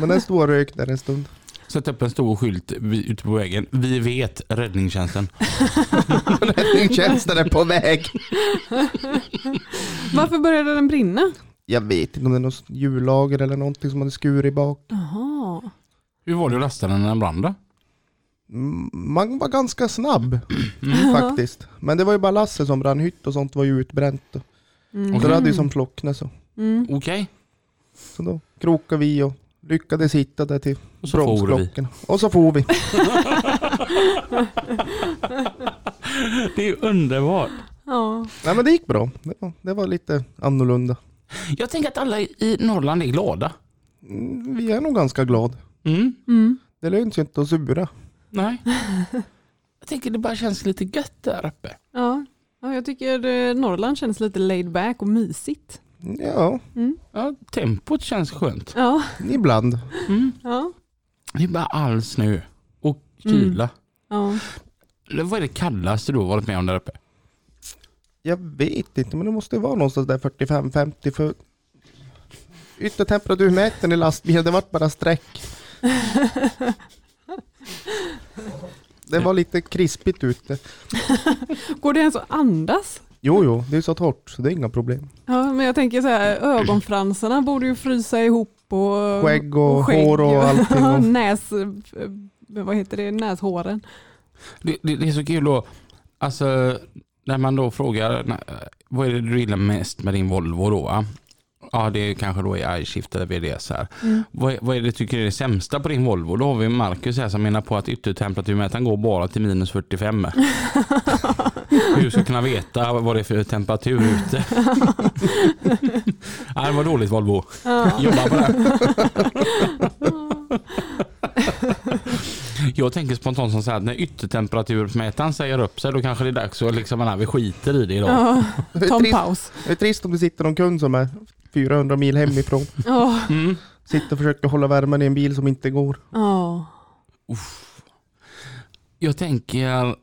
Speaker 6: Men den stod och rök där en stund.
Speaker 2: Sätt upp en stor skylt vi- ute på vägen. Vi vet räddningstjänsten.
Speaker 6: Räddningstjänsten är på väg.
Speaker 1: Varför började den brinna?
Speaker 6: Jag vet inte om det är något hjullager eller någonting som hade skurit bak.
Speaker 1: Jaha.
Speaker 2: Hur var det att lasta den när den brann då?
Speaker 6: Mm, Man var ganska snabb faktiskt. Men det var ju bara Lasse som brann. Hytt och sånt var ju utbränt.
Speaker 1: Mm.
Speaker 6: Så det hade ju som slocknat så.
Speaker 2: Okej.
Speaker 6: Så då krokade vi och lyckades hitta det till
Speaker 2: Och så for vi.
Speaker 6: bromsklockorna. Och så for vi.
Speaker 2: Det är underbart.
Speaker 1: Ja.
Speaker 6: Nej men det gick bra. Det var, det var lite annorlunda.
Speaker 2: Jag tänker att alla i i Norrland är glada.
Speaker 6: Mm, Vi är nog ganska glad.
Speaker 2: Mm.
Speaker 6: Det lönar sig inte att sura.
Speaker 2: Nej. Jag tänker det bara känns lite gött där uppe.
Speaker 1: Ja. ja, jag tycker eh, Norrland känns lite laid back och mysigt.
Speaker 6: Ja,
Speaker 2: Ja, tempot känns skönt.
Speaker 1: Ja,
Speaker 6: ibland.
Speaker 1: ja.
Speaker 2: Det är bara all snö och kyla.
Speaker 1: ja.
Speaker 2: eller vad är det kallaste du har varit med om där uppe?
Speaker 6: Jag vet inte, men det måste ju vara någonstans där 45-50 för yttertemperaturmätaren i lastbilen, det vart bara streck. Det var lite krispigt ute.
Speaker 1: Går det ens att andas?
Speaker 6: Jo, jo, det är så torrt så det är inga problem.
Speaker 1: Ja, men jag tänker så här, ögonfransarna borde ju frysa ihop och
Speaker 6: Skägg och, hår och allting.
Speaker 1: Ja,
Speaker 6: Och,
Speaker 1: Näs, eh, vad heter det, näshåren.
Speaker 2: Det, det, det är så kul då, alltså när man då frågar "Nä, vad är det du gillar mest med din Volvo då? Va? Ja det är kanske då är iShift eller VDS här. Vad, är- vad är det du tycker är det sämsta på din Volvo? Då har vi Marcus här som menar på att yttertemperaturmätaren går bara till minus 45. Hur ska jag kunna veta vad det är för temperatur ute? Nej, det var dåligt Volvo. Jobba på det. Jag tänker spontant som så här att när yttertemperaturmätaren säger upp sig då kanske det är dags att liksom, nej, vi skiter i det idag.
Speaker 1: Ja,
Speaker 6: det,
Speaker 1: ta
Speaker 6: är
Speaker 1: en
Speaker 6: trist,
Speaker 1: paus.
Speaker 6: det är trist om det sitter någon kund som är 400 mil hemifrån.
Speaker 1: Ja,
Speaker 2: Mm.
Speaker 6: Sitter och försöker hålla värmen i en bil som inte går.
Speaker 1: ja.
Speaker 2: Jag tänker,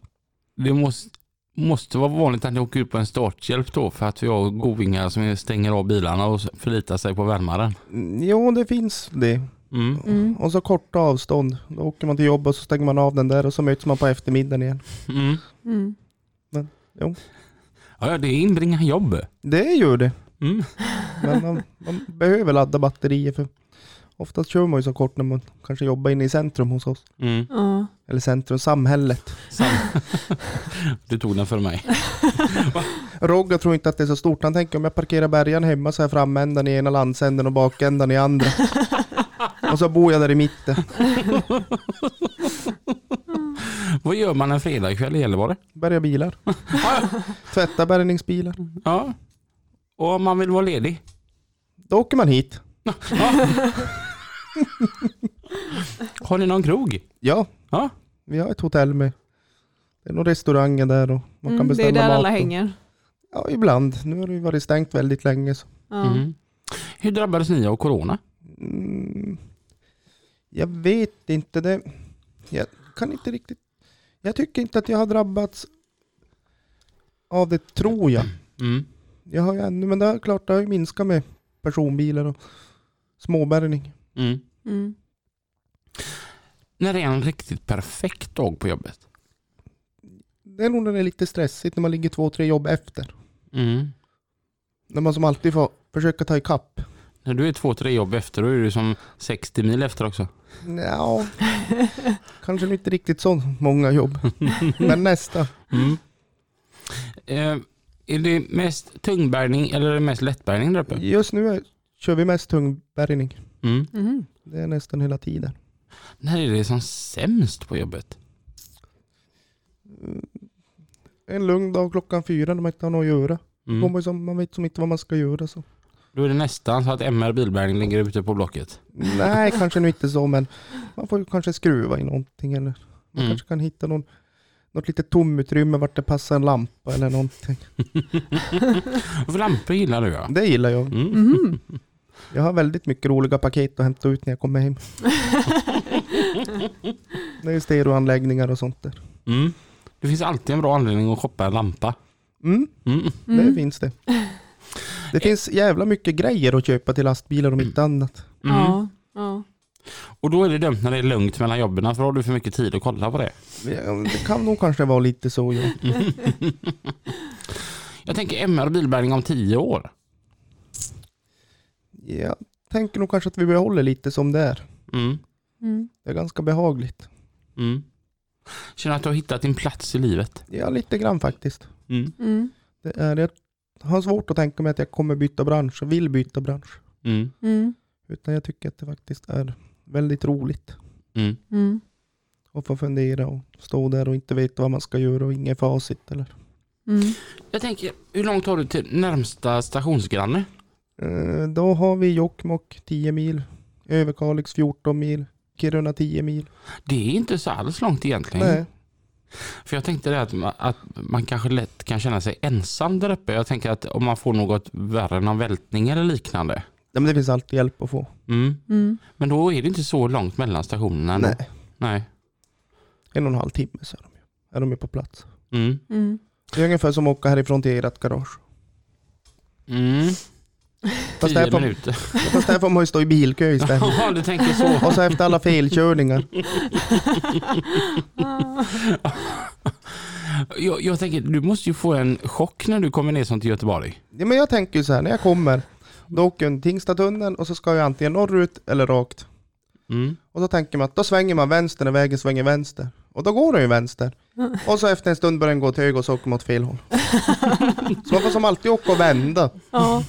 Speaker 2: det måste, måste vara vanligt att ni åker ut på en starthjälp då för att vi har govingar som stänger av bilarna och förlitar sig på värmaren.
Speaker 6: Mm, Jo, det finns det.
Speaker 2: Mm.
Speaker 1: Mm.
Speaker 6: Och så korta avstånd. Då åker man till jobbet och så stänger man av den där och så möts man på eftermiddagen igen.
Speaker 2: Mm.
Speaker 1: Mm.
Speaker 2: Ja, ja, det inbringar jobb.
Speaker 6: Det gör det.
Speaker 2: Mm.
Speaker 6: Men man, man behöver ladda batterier för oftast kör man ju så kort när man kanske jobbar inne i centrum hos oss.
Speaker 2: Mm.
Speaker 1: Ja.
Speaker 6: Eller centrum, samhället.
Speaker 2: Sam- du tog den för mig.
Speaker 6: Rogga tror inte att det är så stort. Han tänker om jag parkerar bärgaren hemma så är framändan i ena landsänden och bakändan i andra. Och så bor jag där i mitten.
Speaker 2: Vad gör man en fredagkväll i Gällivare?
Speaker 6: Bärgar bilar. Tvättar bärgningsbilar.
Speaker 2: Ja. Och om man vill vara ledig?
Speaker 6: Då åker man hit.
Speaker 2: Ja. Har ni någon krog?
Speaker 6: Ja,
Speaker 2: Ja.
Speaker 6: vi har ett hotell med. Det är några restauranger där och man kan
Speaker 1: Mm, det
Speaker 6: beställa
Speaker 1: är där
Speaker 6: mat.
Speaker 1: alla
Speaker 6: och-
Speaker 1: hänger.
Speaker 6: Ja, ibland. Nu har det ju varit stängt väldigt länge. Så.
Speaker 1: Ja.
Speaker 2: Mm. Hur drabbades ni av corona?
Speaker 6: Mm, jag vet inte det. Jag kan inte riktigt. Jag tycker inte att jag har drabbats av det, tror jag.
Speaker 2: Mm.
Speaker 6: Jag har ju ännu, men det är klart, det har ju minskat med personbilar och småbärgning.
Speaker 2: Mm.
Speaker 1: Mm.
Speaker 2: När det är en riktigt perfekt dag på jobbet?
Speaker 6: Det är nog när det är lite stressigt när man ligger två, tre jobb efter.
Speaker 2: Mm.
Speaker 6: När man som alltid får försöka ta ikapp.
Speaker 2: När du är två, tre jobb efter, då är du som 60 mil efter också.
Speaker 6: Ja, kanske inte riktigt så många jobb. Men nästa.
Speaker 2: Mm. Eh, är det mest tungbärgning eller är det mest lättbärgning där uppe?
Speaker 6: Just nu är, kör vi mest tungbärgning.
Speaker 2: Mm.
Speaker 1: Mm.
Speaker 6: Det är nästan hela tiden.
Speaker 2: När är det som sämst på jobbet?
Speaker 6: en lugn dag klockan fyra när man inte har något att göra. Går
Speaker 2: Mm.
Speaker 6: Man, ju som, man vet som inte vad man ska göra. Så.
Speaker 2: Då är det nästan så att MR Bilbärgning ligger ute på Blocket.
Speaker 6: Nej, kanske nu inte så, men man får ju kanske skruva i någonting eller man
Speaker 2: Mm.
Speaker 6: kanske kan hitta någon, något litet tomutrymme vart det passar en lampa eller någonting.
Speaker 2: För lampor gillar du ja.
Speaker 6: Det gillar jag.
Speaker 2: Mm.
Speaker 1: Mhm.
Speaker 6: Jag har väldigt mycket roliga paket att hämta ut när jag kommer hem. Det är ju stereoanläggningar och sånt där.
Speaker 2: Mm. Det finns alltid en bra anledning att shoppa en lampa.
Speaker 6: Mm,
Speaker 2: Mm.
Speaker 6: det
Speaker 1: Mm.
Speaker 6: finns det. Det finns jävla mycket grejer att köpa till lastbilar om inte annat.
Speaker 2: Mm.
Speaker 1: Ja. Ja.
Speaker 2: Och då är det dumt när det är lugnt mellan jobben för då har du för mycket tid att kolla på det.
Speaker 6: Ja, Det kan nog kanske vara lite så. Ja.
Speaker 2: Jag tänker MR Bilbärgning om tio år.
Speaker 6: Jag tänker nog kanske att vi behåller lite som det är.
Speaker 2: Mm.
Speaker 1: Mm.
Speaker 6: Det är ganska behagligt.
Speaker 2: Mm. Känner att du har hittat din plats i livet?
Speaker 6: Ja, lite grann faktiskt.
Speaker 2: Mm.
Speaker 1: Mm.
Speaker 6: Det är, jag har svårt att tänka mig att jag kommer byta bransch och vill byta bransch.
Speaker 2: Mm.
Speaker 1: Mm.
Speaker 6: Utan jag tycker att det faktiskt är väldigt roligt
Speaker 2: Mm.
Speaker 1: Mm.
Speaker 6: att få fundera och stå där och inte veta vad man ska göra och inget facit. Eller.
Speaker 1: Mm.
Speaker 2: Jag tänker, hur långt har du till närmsta stationsgranne?
Speaker 6: Eh, Då har vi Jokkmokk 10 mil, Överkalix 14 mil, Kiruna 10 mil.
Speaker 2: Det är inte så alls långt egentligen.
Speaker 6: Nej.
Speaker 2: För jag tänkte det att, ma- att man kanske lätt kan känna sig ensam där uppe. Jag tänker att om man får något värre än en vältning eller liknande.
Speaker 6: Nej, men det finns alltid hjälp att få.
Speaker 2: Mm.
Speaker 1: Mm.
Speaker 2: Men då är det inte så långt mellan stationerna. ändå.
Speaker 6: Nej.
Speaker 2: Nej.
Speaker 6: En och en halv timme så är de ju. är de ju på plats.
Speaker 2: Mm.
Speaker 1: Mm.
Speaker 6: Det är ungefär som att åka härifrån till ert garage.
Speaker 2: Mm.
Speaker 6: Fast här,
Speaker 2: Tio
Speaker 6: får,
Speaker 2: minuter.
Speaker 6: fast här får man ju stå i bilkö istället.
Speaker 2: Ja, du tänker så.
Speaker 6: Och så efter alla felkörningar.
Speaker 1: Ah.
Speaker 2: Jag, jag tänker, du måste ju få en chock när du kommer ner som till Göteborg.
Speaker 6: Ja, men jag tänker ju så här, när jag kommer, då åker jag Tingstadtunneln och så ska jag antingen norrut eller rakt.
Speaker 2: Mm.
Speaker 6: Och då tänker man att då svänger man vänster när vägen svänger vänster. Och då går den ju vänster. Och så efter en stund börjar den gå till höger och så åker man åt fel håll. Så man får som alltid åka och vända.
Speaker 1: Ja.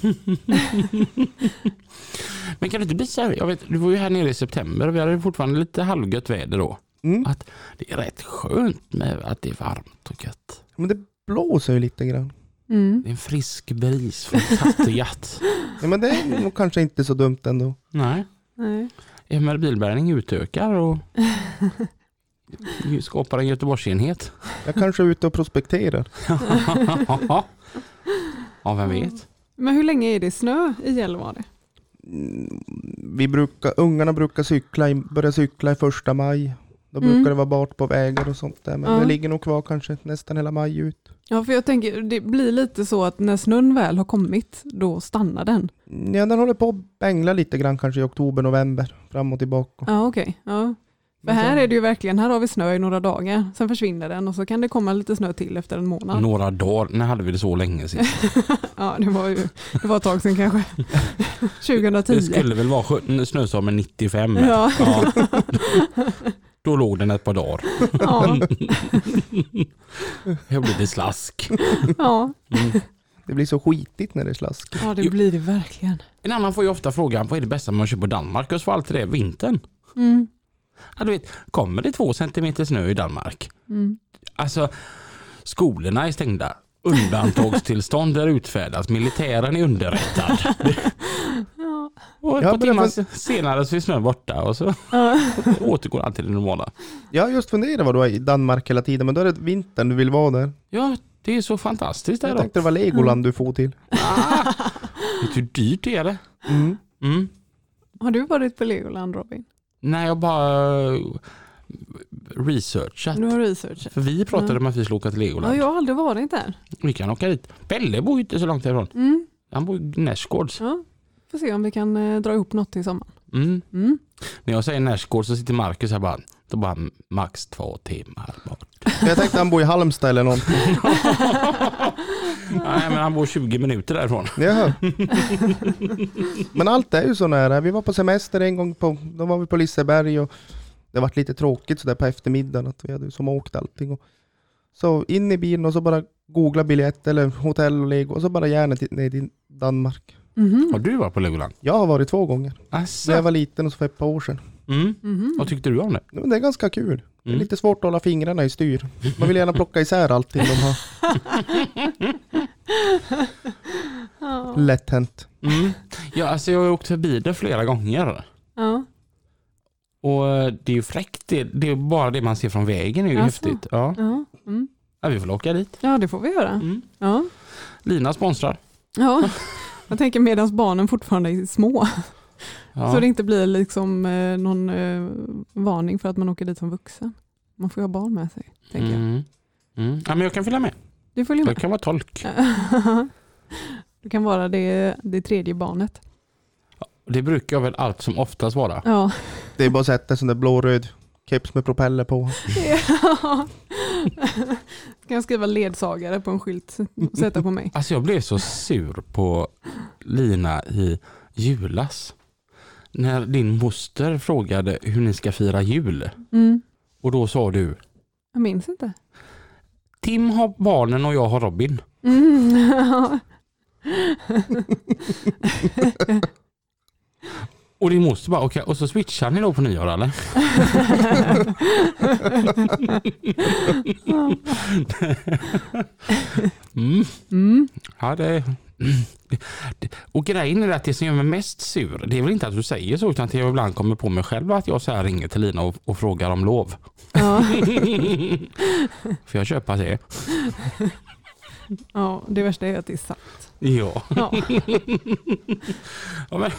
Speaker 2: Men kan det inte bli så här, jag vet, du var ju här nere i september och vi hade fortfarande lite halvgött väder då.
Speaker 6: Mm.
Speaker 2: Att det är rätt skönt med att det är varmt och gött.
Speaker 6: Men det blåser ju lite grann.
Speaker 1: Mm.
Speaker 2: Det är en frisk bris från Kattegatt.
Speaker 6: Ja, men det är nog kanske inte så dumt ändå.
Speaker 2: Nej,
Speaker 1: Nej.
Speaker 2: MR Bilbärgning utökar och skapar en Göteborgsenhet.
Speaker 6: Jag kanske är ute och prospekterar.
Speaker 2: ja, vem vet.
Speaker 1: Men hur länge är det snö i Gällivare?
Speaker 6: Mm, Vi brukar, ungarna brukar cykla i, börja cykla i första maj. Då brukar
Speaker 1: Mm.
Speaker 6: det vara bart på vägar och sånt där. Men
Speaker 1: Ja.
Speaker 6: det ligger nog kvar kanske nästan hela maj ut.
Speaker 1: Ja, för jag tänker det blir lite så att när snön väl har kommit, då stannar den.
Speaker 6: Ja, den håller på att bängla lite grann kanske i oktober, november. Fram och tillbaka.
Speaker 1: Ja, okej. Ja. För här är det ju verkligen, här har vi snö i några dagar, sen försvinner den och så kan det komma lite snö till efter en månad.
Speaker 2: Några dagar, när hade vi det så länge sist?
Speaker 1: Ja, det var ju det var ett tag sedan kanske. 2010.
Speaker 2: Det skulle väl vara sjö- snöstormen 95.
Speaker 1: Ja.
Speaker 2: Ja. Då låg den ett par dagar.
Speaker 1: Ja,
Speaker 2: Jag blev det slask.
Speaker 1: ja.
Speaker 6: Det blir så skitigt när det är slask.
Speaker 1: ja, det blir det verkligen.
Speaker 2: En annan får ju ofta frågan, vad är det bästa man köper på Danmark? Och så får alltid det, vintern.
Speaker 1: Mm.
Speaker 2: Ja, du vet, kommer det två centimeter snö i Danmark?
Speaker 1: Mm.
Speaker 2: Alltså, skolorna är stängda. Undantagstillstånd är utfärdat. Militären är underrättad.
Speaker 1: Ja.
Speaker 2: Och ett
Speaker 6: Ja,
Speaker 2: par
Speaker 6: men det
Speaker 2: timmar
Speaker 6: fanns-
Speaker 2: senare så är snön borta och så
Speaker 1: Ja.
Speaker 2: återgår allt till det normala.
Speaker 6: Jag har just funderat vad du är i Danmark hela tiden, men då är det vintern du vill vara där.
Speaker 2: Ja, det är så fantastiskt där
Speaker 6: Jag
Speaker 2: då.
Speaker 6: tänkte det var Legoland du får till.
Speaker 2: Vet du hur dyrt det är? eller?
Speaker 6: Mm.
Speaker 2: Mm.
Speaker 1: Har du varit på Legoland Robin?
Speaker 2: Nej, jag bara eh, researchat.
Speaker 1: Du har researchat.
Speaker 2: För vi pratade
Speaker 1: Mm.
Speaker 2: om att vi skulle åka till
Speaker 1: Ja,
Speaker 2: Legoland.
Speaker 1: jag har aldrig varit där.
Speaker 2: Vi kan åka dit. Pelle bor ju inte så långt härifrån.
Speaker 1: Mm.
Speaker 2: Han bor i Näsgårds.
Speaker 1: Ja. Får se om vi kan eh, dra ihop något till sommaren.
Speaker 2: Mm.
Speaker 1: Mm.
Speaker 2: När jag säger Näsgård så sitter Marcus här bara, då bara max två timmar bort.
Speaker 6: Jag tänkte han bor i Halmstad eller någonting.
Speaker 2: Nej men han bor 20 minuter därifrån.
Speaker 6: Jaha. Men allt är ju så nära. Vi var på semester en gång, på, då var vi på Liseberg och det varit lite tråkigt sådär på eftermiddagen att vi hade ju som åkt allting. Och så in i bilen och så bara googla biljett eller hotell och lego och så bara gärna till, ner till Danmark.
Speaker 1: Mhm.
Speaker 2: Har du varit på Legoland?
Speaker 6: Jag har varit två gånger, när jag
Speaker 2: Asså.
Speaker 6: var liten och så för ett par år sedan.
Speaker 2: Mm.
Speaker 1: Mhm.
Speaker 2: Vad tyckte du om det?
Speaker 6: Men det är ganska kul. Det är
Speaker 2: Mm.
Speaker 6: lite svårt att hålla fingrarna i styr. Man vill gärna plocka isär allting de har.
Speaker 1: Ja.
Speaker 6: Lätt hänt.
Speaker 2: Mm. Ja, alltså jag har ju åkt förbi det flera gånger.
Speaker 1: Ja.
Speaker 2: Och eh, det är ju fräckt. Det, det är bara det man ser från vägen är ju
Speaker 1: Asså.
Speaker 2: häftigt. Ja.
Speaker 1: Ja. Mm.
Speaker 2: ja, vi får åka dit.
Speaker 1: ja, det får vi göra.
Speaker 2: Mm.
Speaker 1: Ja.
Speaker 2: Lina sponsrar.
Speaker 1: Ja. Jag tänker medan barnen fortfarande är små.
Speaker 2: Ja. Mm.
Speaker 1: Så det inte blir liksom eh, någon eh, varning för att man åker dit som vuxen. Man får ju ha barn med sig. Tänker jag.
Speaker 2: Mm. Mm. Ja, men jag kan följa med.
Speaker 1: Du följer
Speaker 2: Jag
Speaker 1: med.
Speaker 2: kan vara tolk.
Speaker 1: Du kan vara det, det tredje barnet.
Speaker 2: Det brukar jag väl allt som oftast vara.
Speaker 1: Ja.
Speaker 6: Det är bara att sätta en sån där blå-röd keps med propeller på.
Speaker 1: Kan jag skriva ledsagare på en skylt och sätta på mig?
Speaker 2: Alltså jag blev så sur på Lina i julas. När din moster frågade hur ni ska fira jul.
Speaker 1: Mm.
Speaker 2: Och då sa du,
Speaker 1: Jag minns inte.
Speaker 2: Tim har barnen och jag har Robin.
Speaker 1: Mm. Ja.
Speaker 2: Och din moster bara, okej, och så switchar ni då på nyår eller? mm.
Speaker 1: Mm.
Speaker 2: Ja, det... det- Och grejen är att det som gör mig mest sur, det är väl inte att du säger så utan att jag ibland kommer på mig själv att jag så här ringer till Lina och, och frågar om lov.
Speaker 1: Ja.
Speaker 2: Får jag köpa det?
Speaker 1: ja, det värsta är att det är sant.
Speaker 2: Ja.
Speaker 1: Ja.
Speaker 2: ja men,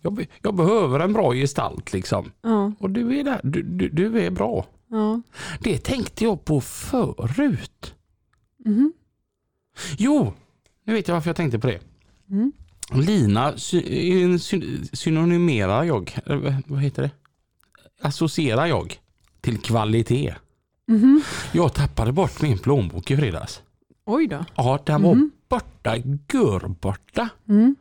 Speaker 2: jag, be- jag behöver en bra gestalt liksom.
Speaker 1: Ja.
Speaker 2: Och du är där. Du, du, du är bra.
Speaker 1: Ja.
Speaker 2: Det tänkte jag på förut.
Speaker 1: Mhm.
Speaker 2: Jo, nu vet jag varför jag tänkte på det.
Speaker 1: Mm.
Speaker 2: Lina sy- eh, syn- synonymerar jag, eh, vad heter det? Associerar jag till kvalitet.
Speaker 1: Mhm.
Speaker 2: Jag tappade bort min plånbok i fredags.
Speaker 1: Oj då.
Speaker 2: Ja, den var borta, görborta.
Speaker 1: Mm.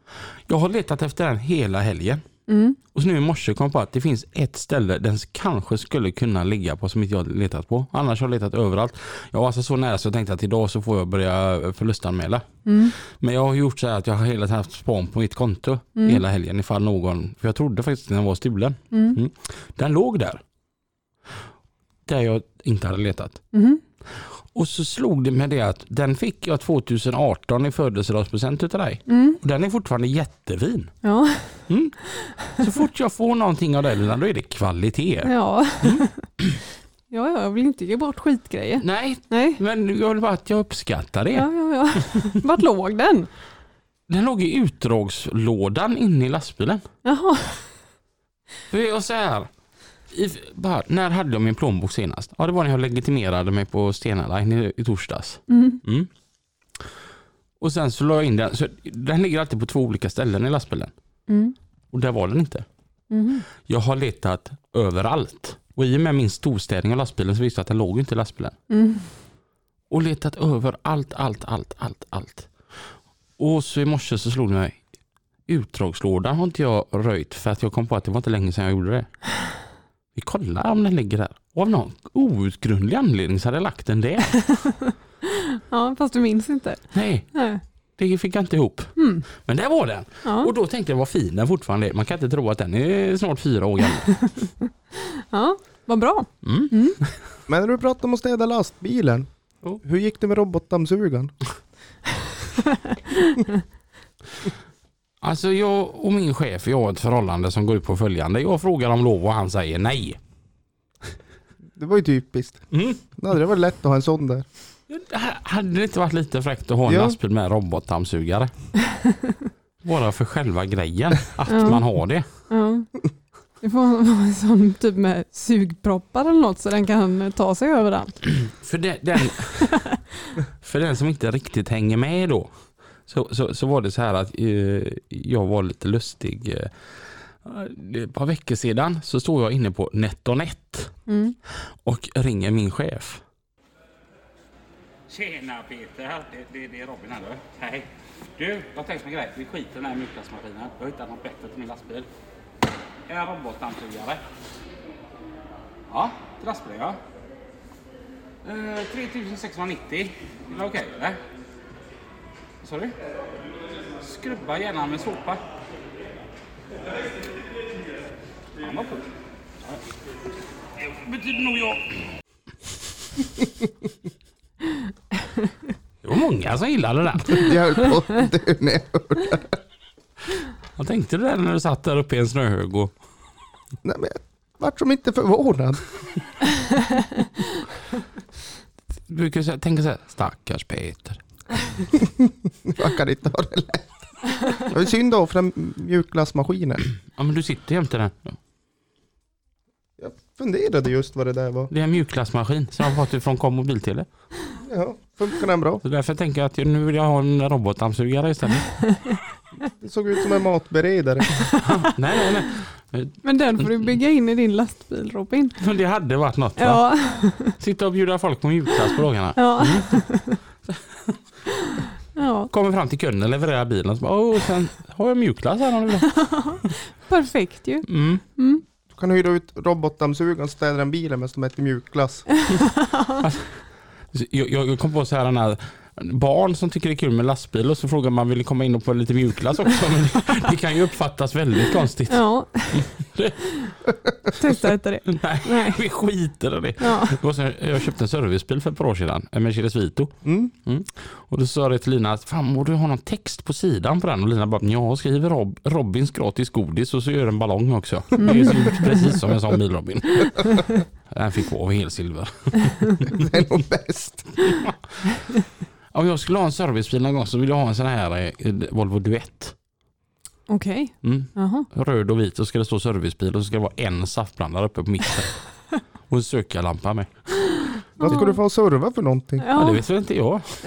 Speaker 2: Jag har letat efter den hela helgen.
Speaker 1: Mm.
Speaker 2: Och så nu i morse kom jag på att det finns ett ställe den kanske skulle kunna ligga på som inte jag letat på. Annars har jag letat överallt. Jag var alltså så nära så jag tänkte att idag så får jag börja förlustanmäla.
Speaker 1: Mm.
Speaker 2: Men jag har gjort så här att jag har hela tiden haft span på mitt konto hela helgen ifall någon, för jag trodde faktiskt att den var stulen.
Speaker 1: Mm.
Speaker 2: Mm. Den låg där. Där jag inte hade letat.
Speaker 1: Mhm.
Speaker 2: Och så slog det mig det att den fick jag 2018 i födelsedagspresent utav dig.
Speaker 1: Mm.
Speaker 2: Och den är fortfarande jättefin. Mm.
Speaker 1: Ja.
Speaker 2: Så fort jag får någonting av dig Lina, då är det kvalitet.
Speaker 1: Ja. ja, ja, jag vill inte ge bort skitgrejer.
Speaker 2: Nej,
Speaker 1: Nej.
Speaker 2: men jag vill bara att jag uppskattar det.
Speaker 1: Ja, ja, ja. Vart låg den?
Speaker 2: Den låg i utdragslådan inne i lastbilen.
Speaker 1: Jaha.
Speaker 2: För jag så här, i, bara, när hade jag min plånbok senast? Ja, det var när jag legitimerade mig på Stena Line i, i torsdags.
Speaker 1: Mm.
Speaker 2: Mm. Och sen så la jag in den. Så den ligger alltid på två olika ställen i lastbilen.
Speaker 1: Mm.
Speaker 2: Och där var den inte.
Speaker 1: Mhm.
Speaker 2: Jag har letat överallt. Och i och med min storstädning av lastbilen så visste jag att den låg ju inte i lastbilen.
Speaker 1: Mm.
Speaker 2: Och letat över allt, allt, allt, allt, allt. Och så i morse så slog det mig. Utdragslådan har inte jag röjt för att jag kom på att det var inte länge sedan jag gjorde det. Vi kollar om den ligger där. Och av någon outgrundlig anledning så hade jag lagt den där.
Speaker 1: Ja, fast du minns inte.
Speaker 2: Nej,
Speaker 1: Nej.
Speaker 2: det fick jag inte ihop.
Speaker 1: Mm.
Speaker 2: Men där var den.
Speaker 1: Ja.
Speaker 2: Och då tänkte jag vad fin den fortfarande är. Man kan inte tro att den är snart fyra år gammal.
Speaker 1: ja, vad bra.
Speaker 2: Mm.
Speaker 6: Men när du pratade om att städa lastbilen,
Speaker 2: Oh.
Speaker 6: hur gick det med robotdammsugaren?
Speaker 2: Alltså jag och min chef, jag har ett förhållande som går ut på följande. Jag frågar om lov och han säger nej.
Speaker 6: Det var ju typiskt.
Speaker 2: Mm.
Speaker 6: Det hade varit lätt att ha en sån där.
Speaker 2: H- Hade det inte varit lite fräckt att ha en
Speaker 6: Ja.
Speaker 2: lastbil med robotdammsugare? Bara för själva grejen, att
Speaker 1: Ja.
Speaker 2: man har det.
Speaker 1: Ja. Det får vara en sån typ med sugproppar eller något så den kan ta sig överallt.
Speaker 2: För, de, den, för den som inte riktigt hänger med då. Så, så, så var det så här att eh, jag var lite lustig. eh, eh, Ett par veckor sedan så stod jag inne på NetOnNet
Speaker 1: Mm.
Speaker 2: och ringer min chef.
Speaker 7: Tjena Peter! Det, det, det är Robin här du. Hej! Du, jag tänkte mig grej. Vi skiter i den här mjukglassmaskinen. Jag har hittat något bättre till min lastbil. En robotdammsugare. Ja, till lastbilen ja. Eh, 3690. Är det okej eller? Vad sa du? Skrubba gärna med såpa. Han var cool. Ja. Det Betyder nog jag.
Speaker 2: Det var många som gillade den.
Speaker 6: Jag höll på att dö när jag hörde.
Speaker 2: Vad tänkte du där när du satt där uppe i en snöhög? Och...
Speaker 6: Nej, men jag vart som inte förvånad.
Speaker 2: Du brukar ju så här- tänka så här, stackars Peter.
Speaker 6: Jag kan inte ha det lätt. Det var synd att offra mjukglassmaskinen.
Speaker 2: Ja men du sitter jämte den.
Speaker 6: Jag funderade just vad det där var.
Speaker 2: Det är en mjukglassmaskin som jag har fått ifrån Kom Mobiltele.
Speaker 6: Ja, funkar den bra?
Speaker 2: Så därför tänker jag att nu vill jag ha en robotdammsugare istället.
Speaker 6: Det såg ut som en matberedare.
Speaker 2: nej nej nej.
Speaker 1: Men den får du bygga in i din lastbil Robin.
Speaker 2: Men det hade varit något va?
Speaker 1: Ja,
Speaker 2: Sitta och bjuda folk på mjukglass på dagarna.
Speaker 1: ja.
Speaker 2: Mm.
Speaker 1: ja
Speaker 2: Kommer fram till kunden, levererar bilen och så bara, åh sen har jag mjukglass här om du vill ha."
Speaker 1: perfekt ju.
Speaker 2: mm.
Speaker 6: Du kan hyra ut robotdammsugaren och städa den bilen medan de äter mjukglass.
Speaker 2: Så jag, jag jag kom på så här, den här barn som tycker det är kul med lastbil och så frågar man vill ni komma in och få lite mjukglass också. Men det, det kan ju uppfattas väldigt konstigt.
Speaker 1: Ja. Testa inte det.
Speaker 2: Nej,
Speaker 1: Nej.
Speaker 2: vi skiter i det.
Speaker 1: Ja.
Speaker 2: Det var så- Jag köpte en servicebil för ett par år sedan, en Mercedes Vito.
Speaker 6: Mm.
Speaker 2: Mm. Och då sa jag till Lina att fan må du ha någon text på sidan på den? Och Lina bara, jag skriver Rob Robins gratis godis och så gör en ballong också. Det ser ut precis som en sån bil Robin. Den fick vara av helsilver.
Speaker 6: Det är nog bäst.
Speaker 2: Om jag skulle ha en servicebil någon gång så vill jag ha en sån här eh, Volvo Duett.
Speaker 1: Okej,
Speaker 2: Mm.
Speaker 1: jaha.
Speaker 2: Röd och vit och ska det stå servicebil och så ska det vara en saftblandare uppe på mitten. och en sökarlampa med.
Speaker 6: Vad ska du få serva för någonting?
Speaker 2: Ja. Det
Speaker 1: Ja,
Speaker 2: vet väl inte jag.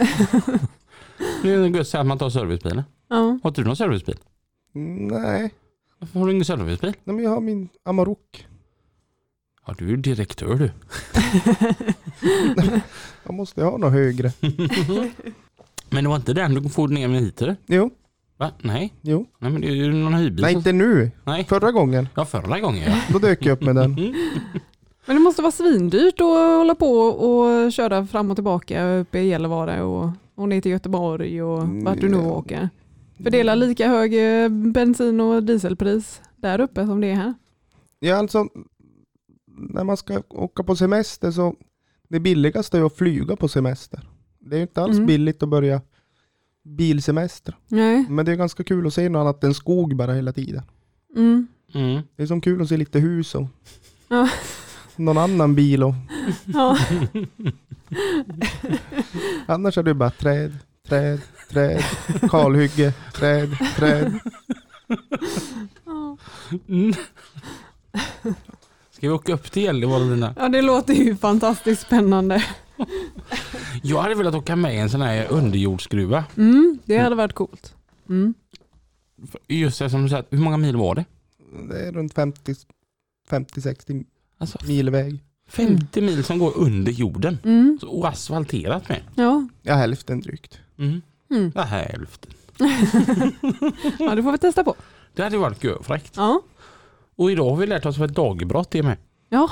Speaker 2: det är gött att man tar servicebilen.
Speaker 1: ja.
Speaker 2: Har inte du någon servicebil?
Speaker 6: Nej,
Speaker 2: Varför har du ingen servicebil?
Speaker 6: Nej men jag har min Amarok.
Speaker 2: Ja, du är ju direktör du.
Speaker 6: Jag måste ha något högre.
Speaker 2: Men det var inte den du får ner med hit eller?
Speaker 6: Jo,
Speaker 2: Va? Nej.
Speaker 6: jo.
Speaker 2: Nej men det är ju någon hyrbil.
Speaker 6: Nej
Speaker 2: som-
Speaker 6: inte nu.
Speaker 2: Nej.
Speaker 6: Förra gången.
Speaker 2: Ja förra gången ja.
Speaker 6: Då dök jag upp med den.
Speaker 1: Men det måste vara svindyrt att hålla på och köra fram och tillbaka uppe i Gällivare och, och ner till Göteborg och vart du nu
Speaker 2: Mm.
Speaker 6: Ja.
Speaker 1: åker. Fördela lika hög eh, bensin och dieselpris där uppe som det är här.
Speaker 6: Ja, alltså när man ska åka på semester så det billigaste är att flyga på semester. Det är ju inte alls
Speaker 1: Mm.
Speaker 6: billigt att börja bilsemester.
Speaker 1: Nej.
Speaker 6: Men det är ganska kul att se något annat än skog bara hela tiden.
Speaker 1: Mm.
Speaker 2: Mm.
Speaker 6: Det är som kul att se lite hus och
Speaker 1: Ja.
Speaker 6: någon annan bil. Och,
Speaker 1: Ja.
Speaker 6: annars är det bara träd, träd, träd, kalhygge, träd, träd.
Speaker 2: Ska vi åka upp till Gällivare Lina?
Speaker 1: ja, det låter ju fantastiskt spännande.
Speaker 2: Jag hade velat åka med i en sån här underjordsgruva.
Speaker 1: Mm, det hade varit coolt. Mm.
Speaker 2: För- Just det som du sa, hur många mil var det?
Speaker 6: Det är runt 50 50-60
Speaker 2: Alltså
Speaker 6: mil väg.
Speaker 2: 50 mil som går under jorden.
Speaker 1: Mm.
Speaker 2: Så- Och asfalterat med.
Speaker 1: Ja.
Speaker 6: Ja, hälften drygt.
Speaker 2: Mm.
Speaker 1: Mm.
Speaker 2: Ja, hälften.
Speaker 1: ja, det får vi testa på.
Speaker 2: Det hade varit görfräckt.
Speaker 1: Ja,
Speaker 2: Och idag har vi lärt oss vad ett dagbrott är med.
Speaker 1: ja.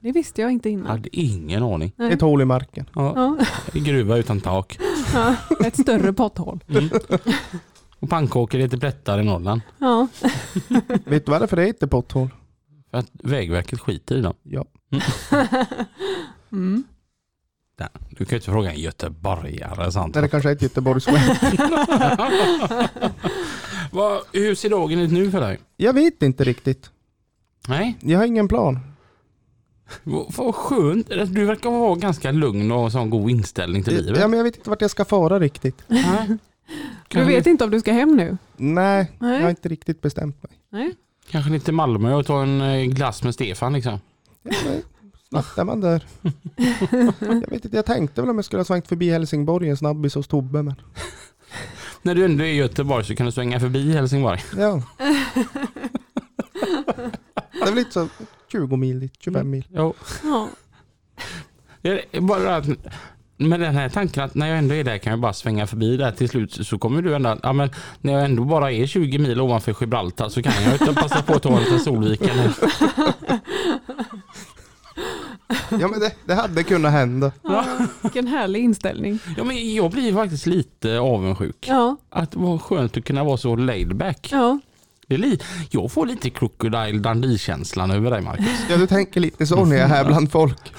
Speaker 1: det visste jag inte
Speaker 2: Jag
Speaker 1: innan.
Speaker 2: hade ingen aning.
Speaker 1: Nej.
Speaker 6: Ett hål i marken.
Speaker 2: Ja,
Speaker 1: Ja.
Speaker 2: en gruva utan tak.
Speaker 1: Ja. Ett större potthål.
Speaker 2: Och pannkakor heter plättar i Norrland.
Speaker 1: Ja.
Speaker 6: Vet du varför det heter potthål?
Speaker 2: För att Vägverket skiter i dem.
Speaker 6: Ja.
Speaker 1: Mm.
Speaker 2: Där. Du kan ju inte fråga en göteborgare sant?
Speaker 6: Det är kanske är ett Göteborgsskämt.
Speaker 2: Vad, hur ser dagen ut nu för dig?
Speaker 6: Jag vet inte riktigt.
Speaker 2: Nej,
Speaker 6: Jag har ingen plan.
Speaker 2: vad vad skönt. Du verkar vara ganska lugn och ha en sån god inställning till livet.
Speaker 6: Ja, men jag vet inte vart jag ska fara riktigt.
Speaker 2: Nej.
Speaker 1: Du
Speaker 2: Kanske,
Speaker 1: vet inte om du ska hem nu?
Speaker 6: Nej,
Speaker 1: Nej.
Speaker 6: jag har inte riktigt bestämt mig.
Speaker 1: Nej.
Speaker 2: kanske ner till Malmö och ta en eh, glass med Stefan liksom.
Speaker 6: Ja, men, Snattar man där? Jag vet inte, jag tänkte väl om jag skulle ha svängt förbi Helsingborg en snabbis hos Tobbe, men
Speaker 2: När du ändå är i Göteborg så kan du svänga förbi Helsingborg.
Speaker 6: ja. Det är väl inte så 20 mil dit, 25 mil.
Speaker 2: Jo.
Speaker 1: Ja.
Speaker 2: Det är Bara att, med den här tanken att när jag ändå är där kan jag bara svänga förbi där till slut så kommer du ändå att, ja, men när jag ändå bara är 20 mil ovanför Gibraltar så kan jag inte passa på att ta en liten Solviken. här.
Speaker 6: Ja men det, det hade kunnat hända.
Speaker 1: Ja, vilken härlig inställning.
Speaker 2: Ja, men jag blir faktiskt lite avundsjuk.
Speaker 1: Ja,
Speaker 2: Att vad skönt att kunna vara så laid back.
Speaker 1: ja.
Speaker 2: Det är li- jag får lite Crocodile Dundee-känslan över dig Marcus.
Speaker 6: Ja du tänker lite så när jag är här bland folk.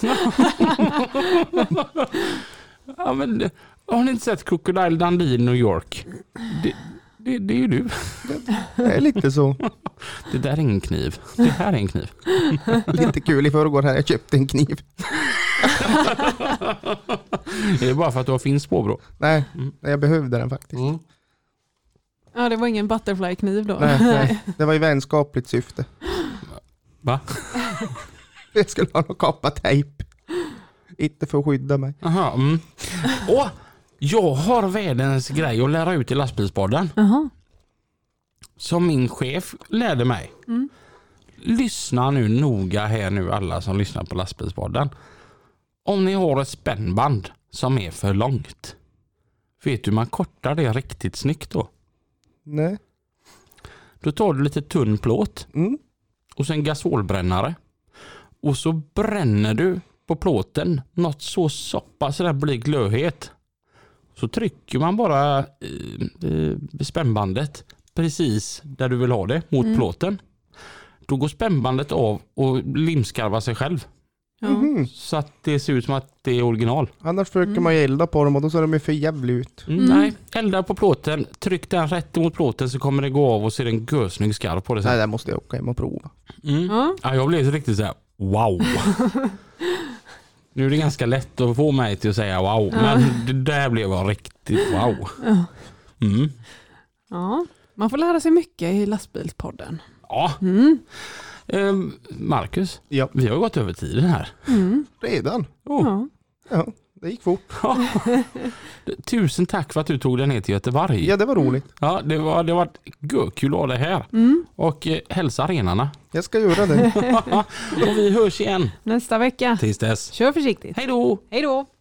Speaker 2: Ja, men, har ni inte sett Crocodile Dundee i New York? Det, det, det är ju du.
Speaker 6: Det är lite så.
Speaker 2: Det där är ingen kniv. Det här är en kniv.
Speaker 6: Lite kul i förrgår här, jag köpte en kniv.
Speaker 2: Det är bara för att du har finns påbrå.
Speaker 6: Nej, jag behövde den faktiskt.
Speaker 1: ja det var ingen butterflykniv då.
Speaker 6: Nej, nej. Det var i vänskapligt syfte.
Speaker 2: Va?
Speaker 6: Jag skulle ha någon koppartejp. Inte för att skydda mig.
Speaker 2: Aha, mm. Åh, jag har världens grej att lära ut i lastbilspodden.
Speaker 1: Jaha.
Speaker 2: Som min chef lärde mig. Lyssna nu noga här nu alla som lyssnar på lastbilspodden. Om ni har ett spännband som är för långt. Vet du hur man kortar det riktigt snyggt då?
Speaker 6: Nej.
Speaker 2: Då tar du lite tunn plåt
Speaker 6: Mm.
Speaker 2: och sen gasolbrännare. Och så bränner du på plåten något så soppa så den blir glödhet. Så trycker man bara eh, eh, spännbandet precis där du vill ha det mot plåten. Då går spännbandet av och limskarvar sig själv.
Speaker 1: Ja.
Speaker 6: Mhm.
Speaker 2: Så att det ser ut som att det är original.
Speaker 6: Annars försöker
Speaker 1: Mm.
Speaker 6: man ju elda på dem och då ser de ju för jävligt ut.
Speaker 2: Mm. Nej, elda på plåten, tryck den rätt mot plåten så kommer det gå av och så är det en gösnygg skarv på det sen. Mm.
Speaker 6: Nej, där måste jag åka hem och prova.
Speaker 1: Ja.
Speaker 2: Ja, jag blev riktigt så här, wow. nu är det ganska lätt att få mig till att säga wow, men det där blev jag riktigt wow. Mm.
Speaker 1: ja. Man får lära sig mycket i lastbilspodden.
Speaker 2: Ja. Eh, Marcus,
Speaker 6: Ja,
Speaker 2: vi har ju gått över tiden här.
Speaker 6: redan.
Speaker 2: Oh.
Speaker 1: Ja.
Speaker 6: Ja, det gick fort.
Speaker 2: Tusen tack för att du tog dig ner till Göteborg.
Speaker 6: Ja, det var roligt.
Speaker 2: Ja, det var, det var görkul att ha dig här. Och eh, hälsa renarna.
Speaker 6: Jag ska göra det.
Speaker 2: Och vi hörs igen.
Speaker 1: Nästa vecka.
Speaker 2: Tills dess.
Speaker 1: Kör försiktigt.
Speaker 2: Hej då!
Speaker 1: Typ. Hej då!